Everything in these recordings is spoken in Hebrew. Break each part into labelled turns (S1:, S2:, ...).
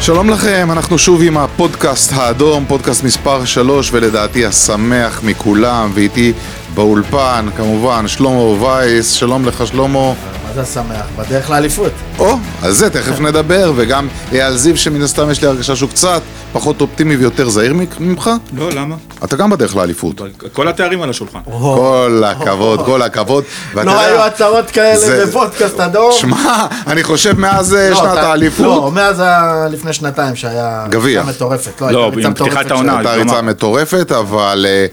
S1: שלום לכם, אנחנו שוב עם הפודקאסט האדום, פודקאסט מספר 3 ולדעתי השמח מכולם, ואיתי באולפן כמובן שלמה וייס, שלום לך שלמה.
S2: מה זה השמח? בדרך לאליפות.
S1: או, על זה
S2: כן.
S1: תכף נדבר, וגם אייל זיו שמן הסתם יש לי הרגשה שהוא קצת פחות אופטימי ויותר זהיר ממך,
S3: לא, למה?
S1: אתה גם בדרך לאליפות.
S3: כל התארים על השולחן.
S1: כל הכבוד, כל הכבוד. ואתה
S2: לא
S1: יודע-
S2: היו הצהרות
S1: זה-
S2: כאלה בפודקאסט אדום.
S1: שמע, אני חושב מאז אה,
S2: לא,
S1: שנת
S2: אתה-
S1: האליפות,
S2: לא, מאז ה- לפני שנתיים שהיה...
S1: גביע.
S2: ריצה מטורפת.
S3: לא,
S2: הייתה ריצה
S3: עם פתיחת
S2: מטורפת
S3: העונה.
S2: של-
S1: הייתה ריצה
S3: כלומר.
S1: מטורפת, אבל... אה,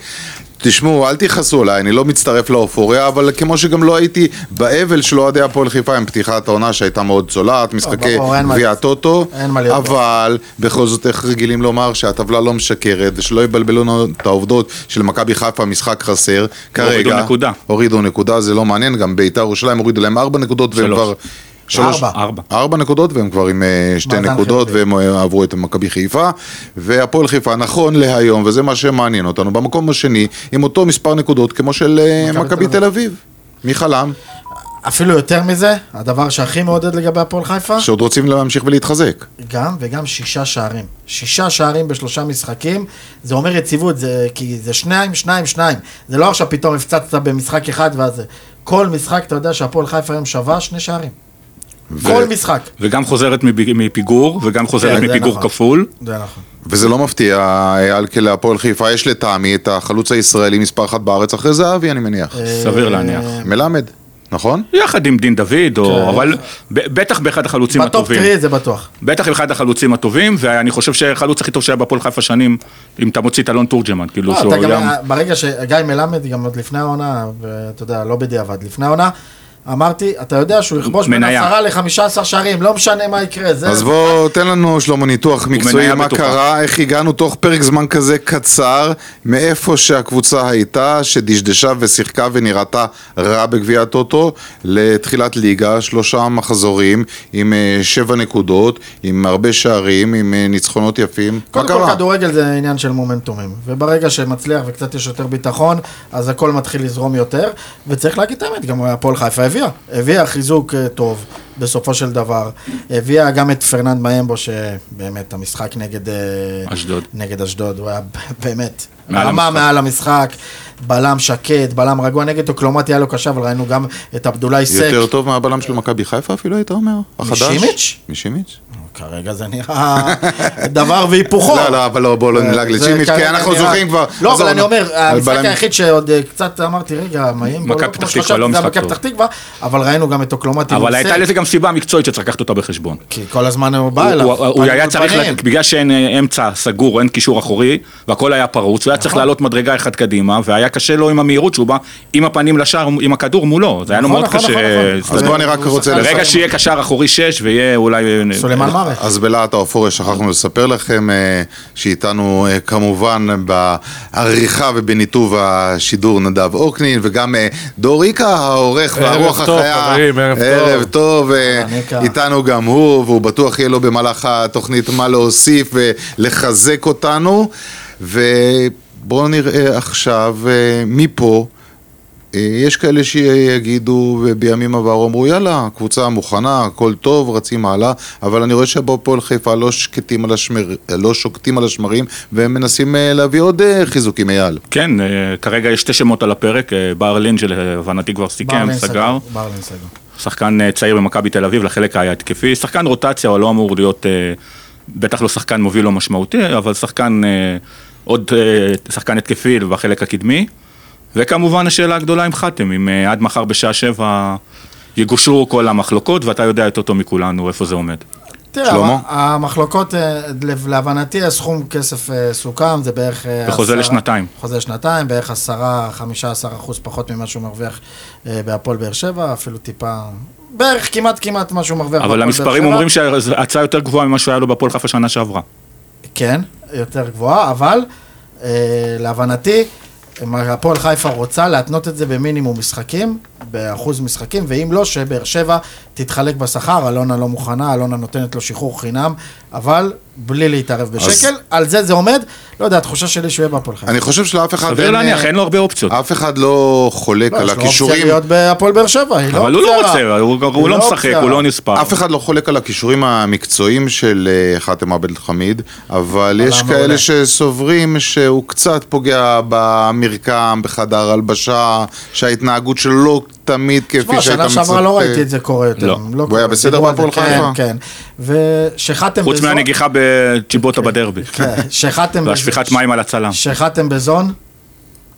S1: תשמעו, אל תכעסו עליי, אני לא מצטרף לאופוריה, אבל כמו שגם לא הייתי באבל של אוהדי הפועל חיפה עם פתיחת העונה שהייתה מאוד צולעת, משחקי
S2: ברור, אין מה-
S1: גביע הטוטו,
S2: אין מה להיות.
S1: אבל בכל זאת איך רגילים לומר שהטבלה לא משקרת, ושלא יבלבלו לנו את העובדות שלמכבי חיפה משחק חסר, כרגע...
S3: נקודה.
S1: הורידו נקודה, זה לא מעניין, גם ביתר ירושלים הורידו להם ארבע נקודות, והם
S3: שלוש.
S1: כבר...
S2: ארבע.
S3: ארבע.
S1: ארבע נקודות, והם כבר עם אה, שתי
S2: מאזן
S1: נקודות,
S2: חיובי.
S1: והם אה, עברו את מכבי חיפה. והפועל חיפה, נכון להיום, וזה מה שמעניין אותנו, במקום השני, עם אותו מספר נקודות כמו של אה,
S2: מכבי
S1: מכבי
S2: תל
S1: תל אביב. מי חלם?
S2: אפילו יותר מזה, הדבר שהכי מעודד לגבי הפועל חיפה,
S1: שעוד רוצים להמשיך ולהתחזק.
S2: גם וגם שישה שערים. שישה שערים בשלושה משחקים, זה אומר יציבות, זה, כי זה שניים, שניים, שניים. זה לא עכשיו פתאום הפצצת במשחק אחד ואז... זה. כל משחק, אתה יודע שהפועל חיפה היום שווה שני שערים.
S1: ו-
S2: כל משחק.
S3: וגם חוזרת מב- מפיגור, וגם חוזרת
S2: כן, זה
S3: מפיגור
S2: נכון.
S3: כפול.
S2: זה נכון.
S1: וזה לא מפתיע, אייל, כי להפועל חיפה יש לטעמי את החלוץ הישראלי מספר אחת בארץ, אחרי זהבי, אני מניח.
S2: אה,
S3: סביר להניח.
S1: מלמד, נכון?
S3: יחד עם דין דוד, או... אבל ב- בטח באחד החלוצים
S2: כן. בטופ
S3: הטובים.
S2: תראי את זה בטוח.
S3: בטח אחד החלוצים הטובים, ואני חושב שהחלוץ הכי טוב שהיה בהפועל חיפה שנים, אם אתה מוציא את אלון תורג'מן, כאילו,
S2: לא,
S3: שהוא
S2: אתה גם,
S3: גם...
S2: ברגע שגיא מלמד, גם עוד לפני העונה, אתה יודע, לא בדיעבד, לפני העונה, אמרתי, אתה יודע שהוא יכבוש בין
S3: מניה.
S2: 10 ל-15 שערים, לא משנה מה יקרה, זה...
S1: אז בוא, תן לנו, שלמה, ניתוח מקצועי,
S3: מניה
S1: מה
S3: בטוחה.
S1: קרה, איך הגענו תוך פרק זמן כזה קצר, מאיפה שהקבוצה הייתה, שדשדשה ושיחקה ונראתה רע בגביע הטוטו, לתחילת ליגה, שלושה מחזורים, עם אה, שבע נקודות, עם הרבה שערים, עם אה, ניצחונות יפים. מה
S2: קודם כל
S1: קרה?
S2: כדורגל זה עניין של מומנטומים, וברגע שמצליח וקצת יש יותר ביטחון, אז הכל מתחיל לזרום יותר, וצריך להגיד את האמת, גם הפועל חיפה הביאה, הביאה חיזוק אה, טוב בסופו של דבר, הביאה גם את פרננד מאמבו, שבאמת המשחק נגד... אה,
S3: אשדוד.
S2: נגד אשדוד, הוא היה באמת,
S3: מעל
S2: רמה
S3: המשחק.
S2: מעל המשחק, בלם שקט, בלם רגוע, נגד אוקלומטי היה לו קשה, אבל ראינו גם את עבדולאי סק.
S1: יותר טוב מהבלם של מכבי חיפה אפילו, היית אומר? החדש?
S2: משימיץ'?
S1: משימיץ'?
S2: כרגע זה נראה דבר והיפוכו.
S1: לא, לא, אבל לא, בואו לא נלעג
S2: אה, זה
S1: לשימיץ', כי
S2: כרגע
S1: אנחנו
S2: נראה-
S1: זוכרים כבר...
S2: לא,
S1: עזוב,
S2: אבל אני אומר,
S1: על
S2: המשחק
S1: בלם-
S2: היחיד שעוד אה, קצת אמרתי, רגע, מה אם...
S3: מכבי פתח תקווה, לא משחק
S2: מכבי
S3: טוב.
S2: פתח תקווה, אבל ראינו גם את אוקלומטי.
S3: אבל
S2: מול
S3: הייתה
S2: סק,
S3: לזה גם סיבה מקצועית שצריך לקחת אותה בחשבון.
S2: כי כל הזמן הוא בא אליו.
S3: הוא- הוא- הוא
S2: פנים
S3: היה
S2: מול
S3: צריך,
S2: פנים.
S3: לת- בגלל שאין אה, אמצע סגור, אין קישור אחורי, והכל היה פרוץ, הוא היה צריך לעלות מדרגה אחת קדימה, והיה קשה לו עם המהירות שהוא בא עם הפנים לשער, עם הכדור מולו, זה היה לו
S2: נכון,
S3: מאוד
S2: נכון,
S3: קשה.
S2: נכון, נכון.
S1: אז
S3: זה-
S1: בוא אני רק
S2: הוא
S1: רוצה
S2: שחקן
S1: לסיים.
S3: ברגע שיהיה קשר אחורי 6 ויהיה אולי... אה,
S2: סולימאן מארק.
S3: כן,
S1: אז בלהט האופוריה שכחנו לספר לכם אה, שאיתנו אה, כמובן בעריכה ובניתוב השידור נדב אוקנין וגם אה, דור איקה העורך
S4: ערב
S1: והרוח
S4: טוב,
S1: החיה.
S4: חברים, ערב טוב.
S1: ערב טוב. אה,
S2: אהלן, איקה.
S1: איתנו גם הוא והוא בטוח יהיה לו במהלך התוכנית מה להוסיף ולחזק אותנו. ובואו נראה עכשיו אה, מפה. אה, יש כאלה שיגידו בימים עברו, אמרו יאללה, קבוצה מוכנה, הכל טוב, רצים הלאה, אבל אני רואה שבפועל חיפה לא, שקטים על השמר, לא שוקטים על השמרים, והם מנסים אה, להביא עוד אה, חיזוקים, אייל.
S3: כן, אה, כרגע יש שתי שמות על הפרק, אה, בר לין שלהבנתי כבר סיכם,
S2: ברלין
S3: סגר,
S2: ברלין סגר.
S3: שחקן אה, צעיר במכבי תל אביב לחלק ההתקפי, שחקן רוטציה, הוא לא אמור להיות, אה, בטח לא שחקן מוביל או משמעותי, אבל שחקן, אה, עוד אה, שחקן התקפי בחלק הקדמי, וכמובן השאלה הגדולה עם חתם, אם אה, עד מחר בשעה שבע יגושרו כל המחלוקות, ואתה יודע יותר טוב מכולנו איפה זה עומד.
S2: תראה,
S1: שלמה?
S2: המחלוקות, אה, לב- להבנתי, הסכום כסף אה, סוכם, זה בערך... אה,
S3: וחוזה
S2: עשרה-
S3: לשנתיים.
S2: חוזה לשנתיים, בערך עשרה, חמישה עשר אחוז פחות ממה שהוא מרוויח אה, בהפועל באר שבע, אפילו טיפה... בערך כמעט כמעט מה שהוא מרוויח.
S3: אבל
S2: בהפועל באר
S3: המספרים
S2: שבע.
S3: אומרים שההצעה יותר גבוהה ממה שהיה לו בהפועל חיפה שנה שעברה.
S2: כן, יותר גבוהה, אבל אה, להבנתי, אם הפועל חיפה רוצה להתנות את זה במינימום משחקים, באחוז משחקים, ואם לא, שבאר שבע תתחלק בשכר, אלונה לא מוכנה, אלונה נותנת לו שחרור חינם, אבל בלי להתערב בשקל, על זה זה עומד, לא יודע, התחושה שלי שהוא יהיה בהפועל חיפה.
S1: אני חושב שלאף אחד אה,
S3: סביר להניח, אין לו הרבה אופציות.
S1: אף אחד לא חולק
S2: לא,
S1: על
S2: יש לו אופציה
S1: הכישורים,
S2: להיות בהפועל באר שבע, היא לא
S3: אבל הוא לא
S2: אופציה
S3: רוצה,
S2: רעה.
S3: הוא- הוא לא משחק,
S2: אופציה
S3: הוא
S2: רעה.
S3: לא נספר.
S1: אף אחד לא חולק על הכישורים המקצועיים של אה, חאתם עבד אל-חמיד, אבל יש
S2: מעולה.
S1: כאלה שסוברים שהוא קצת פוגע במרקם, בחדר הלבשה, שההתנהגות שלו לא תמיד
S2: תשמע,
S1: כפי שהיית
S2: שנה
S1: מצפה.
S2: שעברה לא ראיתי את זה קורה יותר.
S3: לא.
S2: לא
S1: הוא
S2: קורה.
S1: היה בסדר
S2: דיברו על
S1: בהפועל
S2: זה,
S1: חיפה?
S2: כן, כן. ושחטתם בזון...
S3: חוץ מהנגיחה בצ'יבוטה בדרבי.
S2: כן, שחטתם בזון.
S3: והשפיכת מים על הצלם.
S2: שחטתם בזון,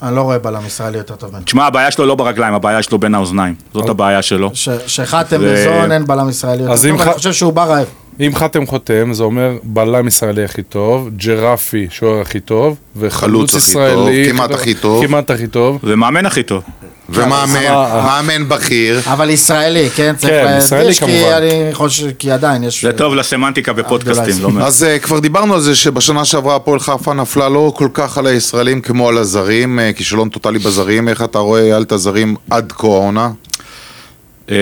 S2: אני לא רואה בלם ישראלי יותר טוב ממנו.
S3: תשמע, הבעיה שלו לא ברגליים, הבעיה שלו בין האוזניים.
S1: אוקיי.
S3: זאת הבעיה שלו.
S2: ש- שחטתם
S3: ו-
S2: בזון, אין בלם ישראלי
S4: אז
S2: יותר טוב,
S4: אם ח-
S2: אני חושב שהוא בא רעב.
S4: אם חתם חותם, זה אומר בלם ישראלי הכי טוב, ג'רפי שוער הכי טוב,
S1: חלוץ
S4: וחלוץ
S1: הכי
S4: ישראלי...
S1: טוב, כמעט הכי טוב.
S4: כמעט הכי טוב.
S3: ומאמן הכי טוב.
S1: ומאמן,
S4: אה, אה.
S1: מאמן בכיר.
S2: אבל ישראלי, כן, צריך
S4: כן,
S2: להדגיש,
S4: ישראלי
S2: כי
S4: כמובן.
S2: אני חושב, כי עדיין יש...
S3: זה טוב לסמנטיקה בפודקאסטים, לא מעט.
S1: אז אה, כבר דיברנו על זה שבשנה שעברה הפועל חיפה נפלה לא כל כך על הישראלים כמו על הזרים, אה, כישלון טוטאלי בזרים, איך אתה רואה אייל את הזרים עד כה העונה?
S3: אה,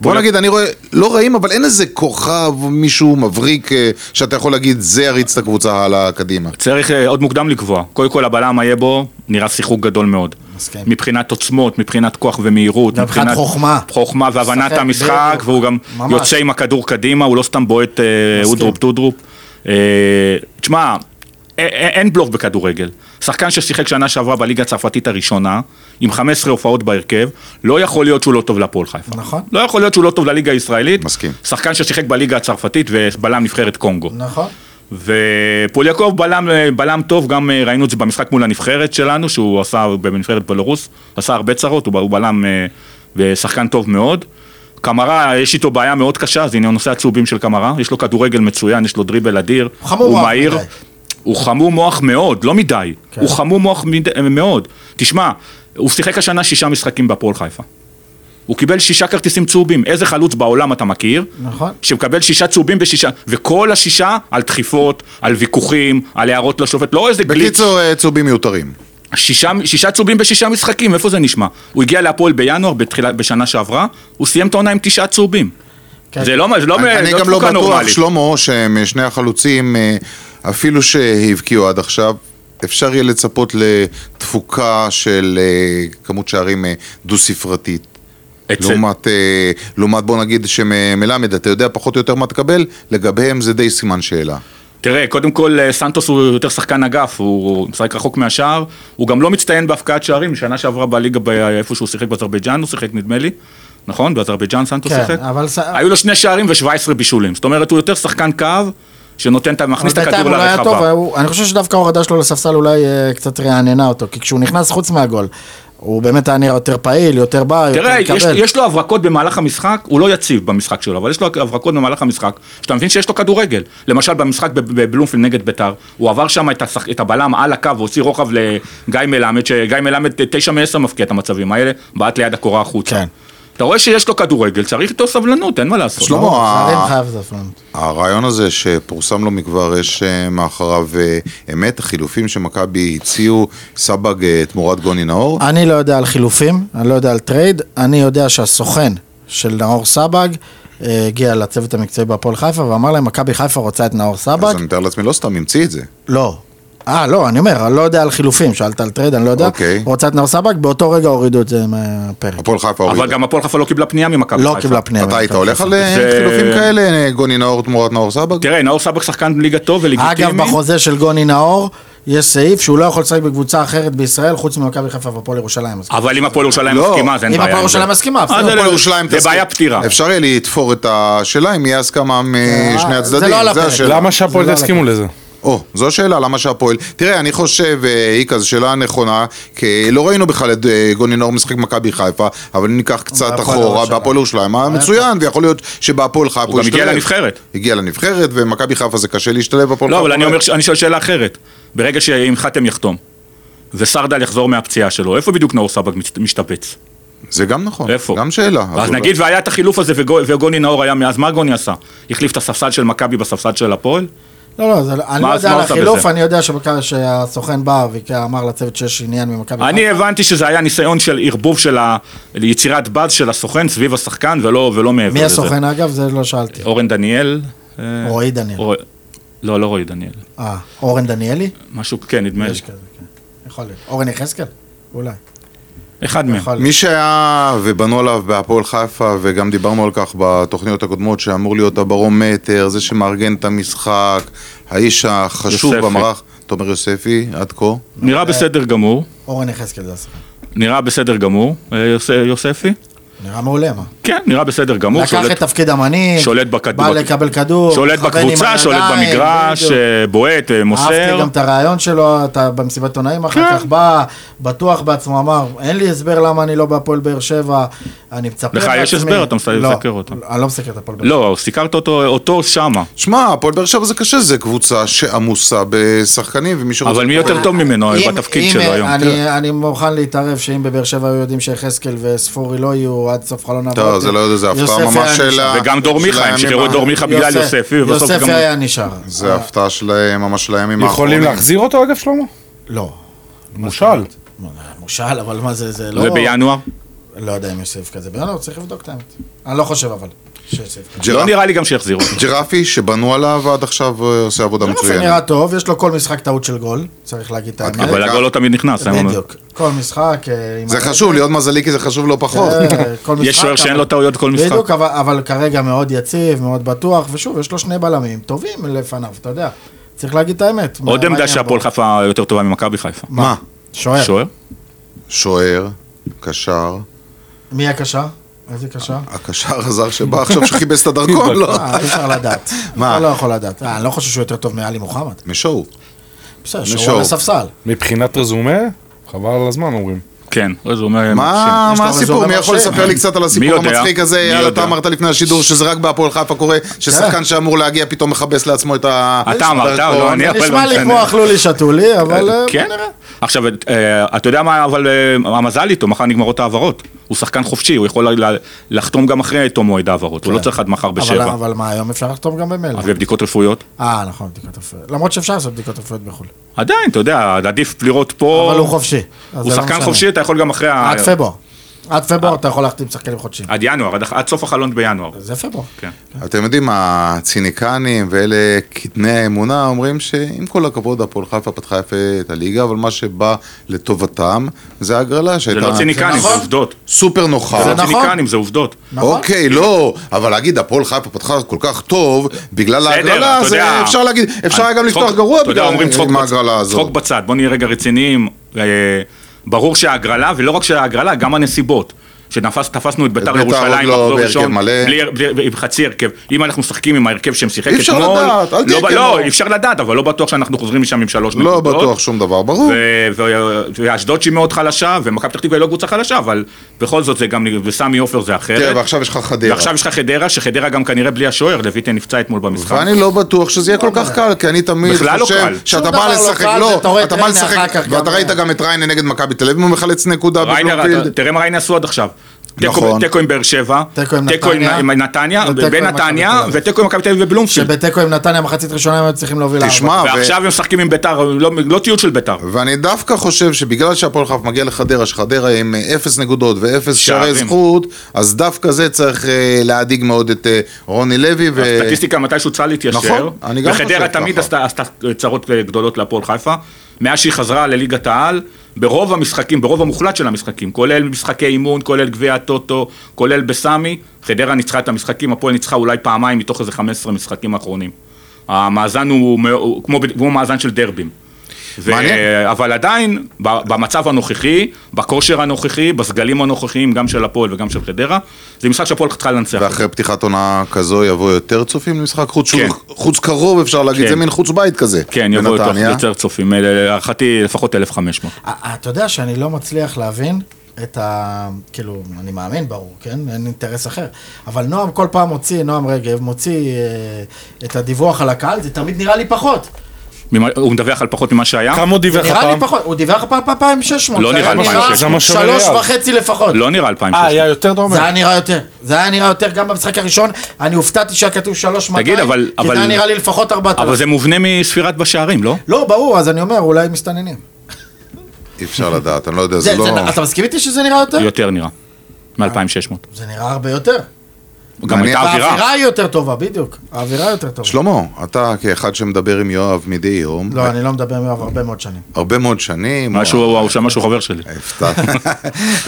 S1: בוא
S3: פול-
S1: נגיד, אני רואה, לא רעים, אבל אין איזה כוכב, מישהו מבריק, אה, שאתה יכול להגיד, זה יריץ את הקבוצה הלאה קדימה.
S3: צריך אה, עוד מוקדם לקבוע. קודם כל הבלם היה בו, נראה שיחוק גדול מאוד.
S2: מסכים.
S3: מבחינת עוצמות, מבחינת כוח ומהירות,
S2: גם מבחינת
S3: מבחינת
S2: חוכמה.
S3: חוכמה והבנת
S2: משחק
S3: המשחק,
S2: בדיוק.
S3: והוא גם
S2: ממש.
S3: יוצא עם הכדור קדימה, הוא לא סתם בועט אה,
S2: מסכים.
S3: אודרופ טודרופ. אה, תשמע, א- א- אין בלוף בכדורגל. שחקן ששיחק שנה שעברה בליגה הצרפתית הראשונה, עם 15 הופעות בהרכב, לא יכול להיות שהוא לא טוב להפועל חיפה.
S2: נכון.
S3: לא יכול להיות שהוא לא טוב לליגה הישראלית.
S1: מסכים.
S3: שחקן ששיחק בליגה הצרפתית ובלם נבחרת קונגו.
S2: נכון.
S3: ופוליאקוב בלם, בלם טוב, גם אה, ראינו את זה במשחק מול הנבחרת שלנו, שהוא עשה בנבחרת בלרוס, עשה הרבה צרות, הוא ב- הוא בלם אה, ושחקן טוב מאוד. קמרה, יש איתו בעיה מאוד קשה, זה עניין נושא הצהובים של קמרה, יש לו כדורגל מצוין, יש לו דריבל אדיר,
S2: חמור
S3: הוא
S2: מוח
S3: מהיר,
S2: מדי.
S3: הוא חמום מוח מאוד, לא מדי,
S2: כן.
S3: הוא חמום מוח מד- מאוד. תשמע, הוא שיחק השנה שישה משחקים בהפועל חיפה. הוא קיבל שישה כרטיסים צהובים, איזה חלוץ בעולם אתה מכיר?
S2: נכון.
S3: שמקבל שישה צהובים בשישה, וכל השישה על דחיפות, על ויכוחים, על הערות לשופט, לא איזה גליץ'.
S1: בקיצור, אה, צהובים מיותרים.
S3: שישה, שישה צהובים בשישה משחקים, איפה זה נשמע? הוא הגיע להפועל בינואר בתחילה, בשנה שעברה, הוא סיים את העונה עם תשעה צהובים.
S2: כן.
S3: זה לא, מה- זה לא,
S1: אני אני
S3: לא
S1: גם לא
S3: תפוקה
S1: בטוח,
S3: נורמלית.
S1: שלמה, שהם שני החלוצים, אה, אפילו שהבקיעו עד עכשיו, אפשר יהיה לצפות לתפוקה של אה, כמות שערים אה, דו-ספרתית.
S3: אצל-
S1: לעומת, אה, לעומת, בוא נגיד, שמלמד, אתה יודע פחות או יותר מה תקבל, לגביהם זה די סימן שאלה.
S3: תראה, קודם כל אה, סנטוס הוא יותר שחקן אגף, הוא משחק רחוק מהשער, הוא גם לא מצטיין בהפקעת שערים, שנה שעברה בליגה ב- איפה שהוא שיחק באזרבייג'אן, הוא שיחק נדמה לי, נכון? באזרבייג'אן סנטוס
S2: כן,
S3: שיחק?
S2: אבל ס-
S3: היו לו שני שערים ו-17 בישולים, זאת אומרת הוא יותר שחקן קו, שנותן, את ה- מכניס את
S2: אבל בינתיים
S3: הכדור
S2: הוא לא היה טוב,
S3: לרחבה.
S2: הוא- אני חושב שדווקא ההורדה שלו לספסל אולי אה, קצת רעננה אותו, כי כשהוא נכנס חוץ מהגול, הוא באמת היה נראה יותר פעיל, יותר בא, יותר
S3: תראה, יש,
S2: מקבל.
S3: יש לו הברקות במהלך המשחק, הוא לא יציב במשחק שלו, אבל יש לו הברקות במהלך המשחק, שאתה מבין שיש לו כדורגל. למשל, במשחק בב- בבלומפילד נגד ביתר, הוא עבר שם את, השח... את הבלם על הקו והוציא רוחב לגיא מלמד, שגיא מלמד אה, תשע מעשר מפקיע את המצבים האלה, בעט ליד הקורה החוצה.
S2: כן.
S3: אתה רואה שיש לו כדורגל, צריך איתו סבלנות, אין מה לעשות.
S1: שלמה,
S2: לא,
S3: אה,
S1: ה-
S2: זרים חייב סבלנות.
S1: הרעיון הזה שפורסם לא מכבר, יש אה, מאחוריו אה, אמת, החילופים שמכבי הציעו, סבג אה, תמורת גוני נאור.
S2: אני לא יודע על חילופים, אני לא יודע על טרייד, אני יודע שהסוכן של נאור סבג אה, הגיע לצוות המקצועי בהפועל חיפה ואמר להם, מכבי חיפה רוצה את נאור סבג,
S1: אז אני מתאר לעצמי, לא סתם המציא את זה.
S2: לא. אה, לא, אני אומר, אני לא יודע על חילופים, שאלת על טרייד, אני לא יודע.
S1: אוקיי.
S2: רוצה את נאור סבג, באותו רגע הורידו את זה מהפרק.
S1: הפועל חיפה
S3: אבל
S1: הורידה.
S3: גם הפועל חיפה לא קיבלה פנייה ממכבי
S2: לא
S3: חיפה.
S2: קיבלה פנייה.
S1: אתה היית
S2: ממכבי
S1: הולך
S2: חיפה.
S1: על אה,
S3: זה- כן,
S1: חילופים כאלה, אה, גוני נאור תמורת נאור סבג?
S3: תראה, נאור סבק שחקן ליגה טוב ולגיטימי.
S2: אגב, בחוזה של גוני נאור, יש סעיף שהוא לא יכול לשחק בקבוצה אחרת בישראל, חוץ ממכבי חיפה והפועל ירושלים. אז-
S3: אבל אם הפועל ירושלים
S1: לא.
S3: מסכימה, אז אין
S2: אם
S3: בעיה.
S2: הפועל
S3: עם זה.
S2: ירושלים מסכימה,
S3: אז
S2: בסדר,
S3: זה
S1: הפועל
S3: לא-
S1: ירושלים
S3: זה
S1: תסכים.
S3: בעיה פתירה.
S1: אפשר יהיה לתפור את השאלה אם יהיה הסכמה משני
S2: זה
S1: הצדדים,
S2: לא על
S1: זה
S2: הפרק.
S1: השאלה.
S4: למה
S2: זה
S4: שהפועל
S2: לא
S4: יסכימו לזה?
S1: או, זו השאלה, למה שהפועל... תראה, אני חושב, אה, איקה, זו שאלה נכונה, כי לא ראינו בכלל את אה, גוני נאור משחק מכבי חיפה, אבל אם ניקח קצת
S2: בהפועל
S1: אחורה,
S2: ירושלים.
S1: בהפועל ירושלים, היה מצוין, ויכול להיות שבהפועל חיפה
S3: הוא גם הגיע
S1: השתלב.
S3: לנבחרת.
S1: הגיע לנבחרת, ומכבי חיפה זה קשה להשתלב בהפועל
S3: לא,
S1: חיפה.
S3: אבל אני אומר, ש- אני שואל שאלה אחרת. ברגע שאם חתם יחתום, וסרדל יחזור מהפציעה שלו, איפה בדיוק נאור סבק מצ- משתבץ?
S1: זה גם נכון,
S3: איפה?
S1: גם שאלה.
S3: אז
S1: אולי-
S3: נגיד והיה את החילוף הזה וגו- וגוני נאור היה מאז, מה גוני עשה? החליף את הספסל של מכבי בספסל של הפועל?
S2: לא, לא, זה לא- אני לא
S3: מה-
S2: יודע
S3: מה
S2: על
S3: עושה
S2: החילוף,
S3: בזה?
S2: אני יודע שבכלל שהסוכן בא ואמר לצוות שיש עניין ממכבי
S3: אני הבנתי שזה היה ניסיון של ערבוב של ה- יצירת באז של הסוכן סביב השחקן ולא ולא מעבר לזה.
S2: מי הסוכן אגב? זה לא שאלתי.
S3: אורן דניאל. אה,
S2: רועי דניאל.
S3: אור- לא, לא רועי דניאל.
S2: אה, אורן דניאלי?
S3: משהו, כן, נדמה לי.
S2: יש כזה, כן. יכול להיות. אורן יחזקאל? אולי.
S3: אחד מהם.
S2: יכול להיות.
S1: מי שהיה ובנו עליו בהפועל חיפה, וגם דיברנו על כך בתוכניות הקודמות, שאמור להיות הברומטר, זה שמארגן את המשחק, האיש החשוב
S3: יוספי.
S1: במערך, תומר יוספי, עד כה.
S2: אה.
S3: נראה בסדר גמור.
S2: אורן יחזקאל זה השחקן.
S3: נראה בסדר גמור, אה, יוס- יוספי.
S2: נראה מעולה, מה?
S3: כן, נראה בסדר גמור.
S2: לקח
S3: שולט-
S2: את תפקיד המנהיג,
S3: שולט בכדור-
S2: בא לקבל כדור,
S3: שולט
S2: מכוון עם
S3: בקבוצה, שולט
S2: הידיים,
S3: במגרש,
S2: בדיוק.
S3: אה, בועט, אה, מוסר. כן.
S2: אהבתי גם את הרעיון שלו, אתה במסיבת עיתונאים אחר כך בא, בטוח בעצמו, אמר, אין לי הסבר למה אני לא בהפועל באר שבע, אני מצפה
S3: לך יש
S2: לעצמי."
S3: הסבר, אתה מסתכל-
S2: לא,
S3: מסקר אותו.
S2: אני לא מסקר את הפועל באר שבע.
S3: לא, סיקרת אותו, אותו שמה.
S1: שמע, הפועל באר שבע זה קשה, זה קבוצה שעמוסה בשחקנים, ומי שרוצה...
S3: אבל מי יותר טוב ממנו
S2: אם-
S3: בתפקיד
S2: אם-
S3: שלו היום?
S2: אני- אני מוכן להתערב שאם בבאר שבע היו יודעים שיחזקאל וספורי לא יהיו עד סוף חלון
S1: טוב, זה לא יודע, זה הפתעה
S2: יוספי
S1: ממש
S2: היה
S1: של ה...
S2: נשאר.
S3: וגם דור
S1: של
S3: מיכה, הם
S1: הימים
S3: שחררו את
S1: ה-
S3: דור מיכה בגלל יוספי, ובסוף גם...
S2: יוספי היה נשאר.
S1: זה הפתעה שלהם, ממש לימים האחרונים.
S4: יכולים להחזיר אותו אגב, שלמה?
S2: לא.
S4: מושל.
S2: מושל, אבל מה זה, זה לא...
S3: ובינואר?
S2: לא יודע אם יש סעיף כזה בינואר, צריך לבדוק את האמת. אני לא חושב אבל שיש סעיף כזה.
S3: לא
S1: ג'רפ-
S3: נראה לי גם שיחזירו אותו.
S1: ג'רפי, שבנו עליו עד עכשיו, אה, עושה עבודה
S2: זה לא
S1: מצוינת.
S2: נראה טוב, יש לו כל משחק טעות של גול, צריך להגיד את האמת.
S3: אבל הגול לא תמיד נכנס. אני אומר.
S2: בדיוק. כל משחק... אה, עם
S1: זה
S2: ה-
S1: חשוב, להיות מזלי, כי זה חשוב לא פחות.
S2: אה, כל משחק,
S3: יש שוער שאין
S2: אבל-
S3: לו טעויות כל משחק.
S2: בדיוק, אבל- אבל כרגע מאוד יציב, מאוד בטוח, ושוב, יש לו שני בלמים טובים לפניו, אתה יודע. צריך להגיד את האמת. מה-
S3: עוד
S2: מה
S3: עמדה
S2: העניין
S3: שהפועל
S2: בו?
S3: חיפה יותר טובה ממכבי חיפה.
S1: מה?
S2: שוער.
S3: שוער?
S1: שוער, קשר,
S2: מי הקשר? איזה קשר?
S1: הקשר הזר שבא עכשיו שחיבס את הדרכון, לא?
S2: אה, אי אפשר לדעת.
S1: מה?
S2: אתה לא יכול לדעת. אה, אני לא חושב שהוא יותר טוב מעלי מוחמד.
S1: משואו.
S2: בסדר,
S1: משור.
S2: שהוא על הספסל.
S4: מבחינת רזומה, חבל על הזמן אומרים.
S3: כן. אז הוא אומר... מרשים.
S1: מה
S2: יש לו
S1: מה
S2: רזומה
S1: הסיפור? מי יכול
S2: מרשים.
S1: לספר לי קצת על הסיפור
S3: יודע?
S1: המצחיק הזה?
S3: מי
S1: יאללה,
S3: יודע?
S1: אתה אמרת לפני השידור שזה רק בהפועל חיפה קורה, ששחקן שאמור להגיע פתאום מכבס לעצמו את ה...
S3: אתה אמרת,
S1: דרכון.
S3: לא אני. אבל
S2: נשמע
S3: לא
S2: לי
S3: משנה.
S2: כמו אכלו לי, שתו לי, אבל אה,
S3: כן? עכשיו, אה, אתה יודע מה, אבל אה, המזל איתו, מחר נגמרות ההעברות. הוא שחקן חופשי, הוא יכול ל- לחתום גם אחרי תום מועד ההעברות. הוא לא צריך עד מחר
S2: כן. אבל-
S3: בשבע. אוקיי.
S2: אבל מה, היום אפשר לחתום גם במילא.
S3: ובדיקות רפואיות?
S2: אה, נכון, בדיקות רפואיות. למרות שאפשר לעשות בדיקות רפואיות בחו"ל.
S3: עדיין, אתה יודע, עדיף לראות פה...
S2: אבל הוא חופשי. אז
S3: הוא
S2: זה לא
S3: שחקן
S2: משנה.
S3: חופשי, אה, אתה יכול גם אחרי... ה-
S2: עד פברואר. עד פברואר אתה יכול להחתים שחקנים חודשיים.
S3: עד ינואר, עד- עד סוף החלון בינואר.
S2: זה פברואר.
S3: כן.
S1: אתם יודעים, הציניקנים ואלה קטני האמונה אומרים שעם כל הכבוד, הפועל חיפה פתחה יפה את הליגה, אבל מה שבא לטובתם זה ההגרלה
S3: זה
S1: שהייתה
S3: לא ציניקנים, זה
S2: נכון.
S3: עובדות.
S1: סופר נוחה.
S3: זה
S2: זה
S3: לא
S2: נכון.
S3: ציניקנים, זה עובדות.
S2: נכון?
S1: אוקיי, לא, אבל להגיד, הפועל חיפה פתחה כל כך טוב, בגלל ההגרלה,
S3: אתה יודע.
S1: לא, זה אפשר להגיד, אפשר היה גם
S3: צחוק-
S1: לפתוח גרוע
S3: אתה יודע,
S1: בגלל
S3: אומרים צחוק
S1: עם
S3: בצד-
S1: ההגרלה
S3: צחוק
S1: הזאת.
S3: בצד, בוא נהיה רגע רציניים. אה, ברור שההגרלה, ולא רק שההגרלה, גם הנסיבות. שתפסנו את ביתר
S1: ביתר עוד
S3: ירושלים
S1: לא
S3: מחזור
S1: בהרכב
S3: ראשון,
S1: מלא.
S3: בלי- בלי- עם חצי הרכב. אם אנחנו משחקים עם ההרכב שהם שיחק
S1: אי
S3: אתמול,
S1: אפשר לדעת, אל תהיה
S3: לא ב-
S1: כמו.
S3: לא, אי אפשר לדעת, אבל לא בטוח שאנחנו חוזרים משם עם שלוש
S1: לא בטוח שום דבר, ברור.
S3: ו- ו- ואשדוד שהיא מאוד חלשה, ומכבי פתח תקווה היא לא קבוצה חלשה, אבל בכל זאת זה גם, וסמי עופר זה
S1: תראה,
S3: אחרת.
S1: כן, ועכשיו יש לך חדרה.
S3: ועכשיו יש לך חדרה, שחדרה גם כנראה בלי השוער, לויטה נפצע אתמול במשחק.
S1: ואני לא בטוח שזה יהיה כל כך קל, כי אני תמיד
S3: בכלל לא
S1: חושב
S3: קל.
S1: שאתה
S2: שום
S1: בא
S2: דבר לא
S1: לשחק,
S2: קל, ואתה
S1: לא,
S2: רואה
S1: אתה
S2: את
S1: בא
S2: ריינה
S1: לשחק,
S2: אחר כך גם-
S1: ואתה ראית גם את ריינה נגד מכבי תל אביב, הוא מחלץ נקודה
S3: ריינר, אתה-
S1: בבלומפילד.
S3: תראה מה ריינה עשו עד עכשיו. תיקו-
S1: לא נכון.
S3: תיקו עם באר שבע,
S2: תיקו עם
S3: תיקו
S2: נתניה,
S3: עם נתניה,
S2: ותיקו עם מכבי
S3: בנתניה,
S2: תל אביב.
S3: ותיקו עם מכבי תל אביב ובלומפילד.
S2: שבתיקו עם נתניה מחצית ראשונה הם היו צריכים להוביל לארבע.
S1: תשמע, ו-
S3: ועכשיו הם משחקים עם ביתר, לא לא טיול של ביתר.
S1: ואני דווקא חושב שבגלל שהפועל חיפה מגיע לחדרה, שחדרה עם אה, אפס נקודות ואפס שערי
S3: שערים.
S1: זכות, אז דווקא זה צריך אה, להדאיג מאוד את אה, רוני לוי. ו-
S3: הסטטיסטיקה מתישהו צריכה להתיישר.
S1: נכון, אני גם
S3: וחדרה
S1: חושב
S3: תמיד
S1: ככה.
S3: עשתה עשתה צרות אה, גדולות להפועל חיפה. מאז שהיא חזרה לליגת העל, ברוב המשחקים, ברוב המוחלט של המשחקים, כולל משחקי אימון, כולל גביע הטוטו, כולל בסמי, חדרה ניצחה את המשחקים, הפועל ניצחה אולי פעמיים מתוך איזה 15 משחקים האחרונים. המאזן הוא, מא- הוא כמו, ב- כמו מאזן של דרבים. ו-
S1: מעניין.
S3: אבל עדיין, ב- במצב הנוכחי, בכושר הנוכחי, בסגלים הנוכחיים, גם של הפועל וגם של חדרה, זה משחק שהפועל צריכה לנצח.
S1: ואחרי פתיחת עונה כזו יבואו יותר צופים למשחק חוץ, שהוא
S3: כן.
S1: חוץ קרוב אפשר להגיד,
S3: כן.
S1: זה מין חוץ בית כזה.
S3: כן, יבואו יותר-
S1: בנתניה.
S3: יותר צופים, אה, להערכתי לפחות 1,500.
S2: אה, אתה יודע שאני לא מצליח להבין את ה... כאילו, אני מאמין, ברור, כן? אין אינטרס אחר. אבל נועם כל פעם מוציא, נועם רגב, מוציא אה, את הדיווח על הקהל, זה תמיד נראה לי פחות.
S3: ממה- הוא מדווח על פחות ממה שהיה?
S4: כמה הוא דיווח
S2: נראה לי
S4: הפעם?
S2: פחות, הוא דיווח פעם פעם פעם 600.
S3: לא
S2: זה היה
S3: נראה לי 600.
S4: זה מה שאומר
S2: שלוש
S4: אייל.
S2: וחצי לפחות.
S3: לא נראה
S4: אה, היה
S3: 2,600.
S4: יותר דומה.
S2: זה היה נראה יותר, זה היה נראה יותר גם במשחק הראשון, אני הופתעתי שהיה כתוב 3,200,
S3: תגיד, אבל-
S2: כי זה
S3: אבל-
S2: היה נראה לי לפחות 4,000.
S3: אבל זה מובנה מספירת בשערים, לא?
S2: לא, ברור, אז אני אומר, אולי מסתננים.
S1: אי אפשר לדעת, אני לא יודע,
S2: זה,
S1: זה לא...
S2: זה, אתה מסכים איתי שזה נראה יותר?
S3: יותר נראה. מ-2,600.
S2: זה נראה הרבה יותר.
S3: גם
S1: מעניין.
S3: הייתה אווירה.
S2: האווירה היא יותר טובה, בדיוק. האווירה יותר טובה.
S1: שלמה, אתה כאחד שמדבר עם יואב מדי יום,
S2: לא, אני לא מדבר עם יואב הרבה מאוד שנים.
S1: הרבה מאוד שנים. אה,
S3: משהו, הוא שמע שהוא חבר שלי.
S1: הפתעת.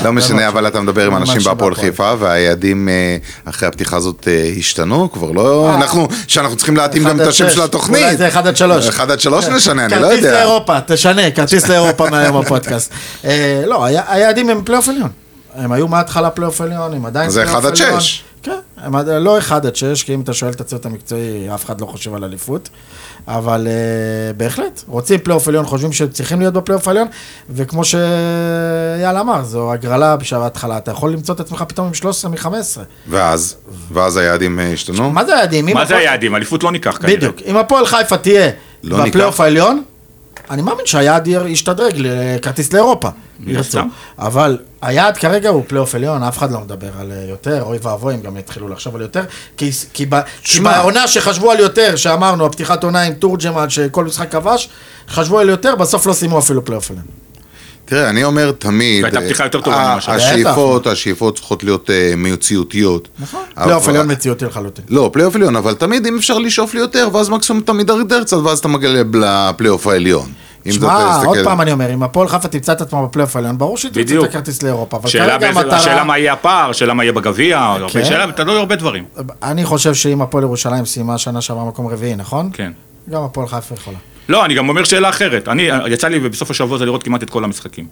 S1: לא משנה, אבל אתה מדבר עם
S2: ממש
S1: אנשים בהפועל
S2: בהפועל.
S1: חיפה, והיעדים אה, אחרי הפתיחה הזאת אה, השתנו, כבר לא...
S2: אה.
S1: אנחנו, שאנחנו צריכים להתאים גם
S2: אחד
S1: את
S2: עד
S1: השם
S2: שש.
S1: של התוכנית.
S2: אולי זה 1 עד 3.
S1: 1 עד 3 נשנה, אני לא
S2: כרטיס
S1: יודע.
S2: לאירופה, תשנה, כרטיס לאירופה מהיום בפודקאסט. אה, לא, היה- היעדים הם פלייאוף עליון. הם היו מההתחלה פלייאוף עליון, הם עדיין
S1: זה
S2: פלייאוף
S1: אחד עד
S2: עליון.
S1: שש.
S2: כן, הם עד- לא 1 עד 6, כי אם אתה שואל את הצוות המקצועי, אף אחד לא חושב על אליפות. אבל אה, בהחלט, רוצים פלייאוף עליון, חושבים שצריכים להיות בפלייאוף עליון, וכמו שאייל אמר, זו הגרלה בשלב ההתחלה, אתה יכול למצוא את עצמך פתאום עם 13 מ-15.
S1: ואז, ואז היעדים אה, השתנו.
S2: מה זה היעדים? אם
S3: מה זה
S2: הפועל-
S3: היעדים? אליפות לא ניקח כנראה.
S2: בדיוק. אם הפועל חיפה תהיה
S1: לא
S2: בפלייאוף
S1: ניקח.
S2: העליון, אני מאמין שהיעד יר- ישתדרג לכרטיס לאירופה,
S3: מן
S2: ירצו.
S3: הסתם.
S2: אבל היעד כרגע הוא פלייאוף עליון, אף אחד לא מדבר על אה, יותר, אוי ואבוי, הם גם יתחילו לחשוב על יותר, כי, כי, ב, כי
S1: שמע.
S2: בעונה שחשבו על יותר, שאמרנו, הפתיחת עונה עם תורג'מן, שכל משחק כבש, חשבו על יותר, בסוף לא סיימו אפילו פלייאוף עליון.
S1: תראה, אני אומר תמיד,
S3: והייתה פתיחה יותר טובה
S1: אה,
S3: ממה שהיה.
S1: השאיפות, השאיפות צריכות להיות אה, מציאותיות. נכון.
S2: פלייאוף עליון מציאותי לחלוטין.
S1: לא, פלייאוף עליון, אבל תמיד אם אפשר לשאוף ליותר, ואז מקסימום אתה מידרדר קצת, ואז אתה מגלב לפלייאוף העליון. אם
S2: שמע,
S1: אתה
S2: עוד
S1: תסתכל-
S2: פעם אני אומר, אם הפועל חיפה תמצא את עצמה בפלייאוף העליון, ברור שהיא תמצא
S3: בדיוק.
S2: את הכרטיס לאירופה, אבל
S3: שאלה
S2: כרגע
S3: באיזה-
S2: המטרה...
S3: השאלה מה יהיה הפער, שאלה מה יהיה בגביע, הרבה
S2: כן.
S3: שאלה, אתה לא יודע הרבה דברים.
S2: אני חושב שאם הפועל ירושלים סיימה שנה שעברה מקום רביעי, נכון?
S3: כן.
S2: גם הפועל חיפה יכולה.
S3: לא, אני גם אומר שאלה אחרת. אני, יצא לי בסוף השבוע הזה לראות כמעט את כל המשחקים.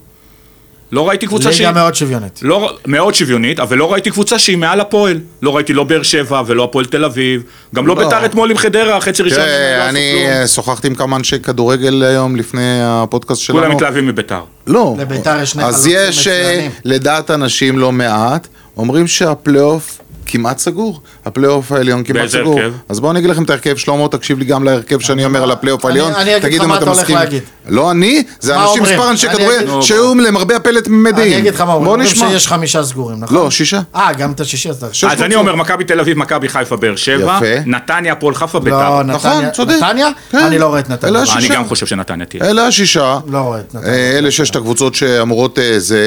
S3: לא ראיתי קבוצה שהיא...
S2: ליגה מאוד שוויונית.
S3: לא, מאוד שוויונית, אבל לא ראיתי קבוצה שהיא מעל הפועל. לא ראיתי לא באר שבע ולא הפועל תל אביב, גם לא
S1: לא.
S3: ביתר אתמול עם חדרה, חצי ראשון. הם לא
S1: תראה, כן,
S3: עשו
S1: אני
S3: כלום.
S1: אה, שוחחתי עם כמה אנשי כדורגל היום לפני הפודקאסט שלנו.
S3: כולם מתלהבים מביתר.
S1: לא.
S2: לביתר יש שני
S1: אז
S2: חלוצים
S1: יש, אה,
S2: מצוינים.
S1: לדעת אנשים לא מעט, אומרים שהפלייאוף כמעט סגור. הפלייאוף העליון כמעט
S3: באיזה
S1: סגור.
S3: הרכב?
S1: אז בואו אני אגיד לכם את ההרכב, שלמה, תקשיב לי גם להרכב שאני אומר על הפלייאוף
S2: אני-
S1: העליון.
S2: אני אגיד
S1: תגיד
S2: לך
S1: אם
S2: מה אתה הולך
S1: מסכים.
S2: להגיד.
S1: לא אני, זה
S2: מה
S1: אנשים,
S2: אומרים?
S1: מספר אנשי
S2: אני אגיד-
S1: כדורגל
S2: נו,
S1: שהיו למרבה הפלט ממדים.
S2: אני אגיד לך מה,
S1: בואו
S2: אומרים
S1: נשמע.
S2: שיש חמישה סגורים, נכון?
S1: לא, שישה.
S2: אה, גם את השישי אז... אתה-
S3: אז אני אומר, מכבי תל אביב, מכבי חיפה, באר שבע,
S1: יפה.
S3: נתניה, הפועל חיפה, ביתר.
S2: לא, נתניה.
S1: נכון, צודק.
S2: נתניה?
S1: כן.
S2: אני לא רואה את נתניה.
S1: אלה
S2: אני
S3: אני
S1: השישה.
S3: גם חושב שנתניה תהיה.
S1: אלה השישה.
S2: לא רואה את נתניה.
S1: אה, אלה ששת הקבוצות שאמורות... אה, זה...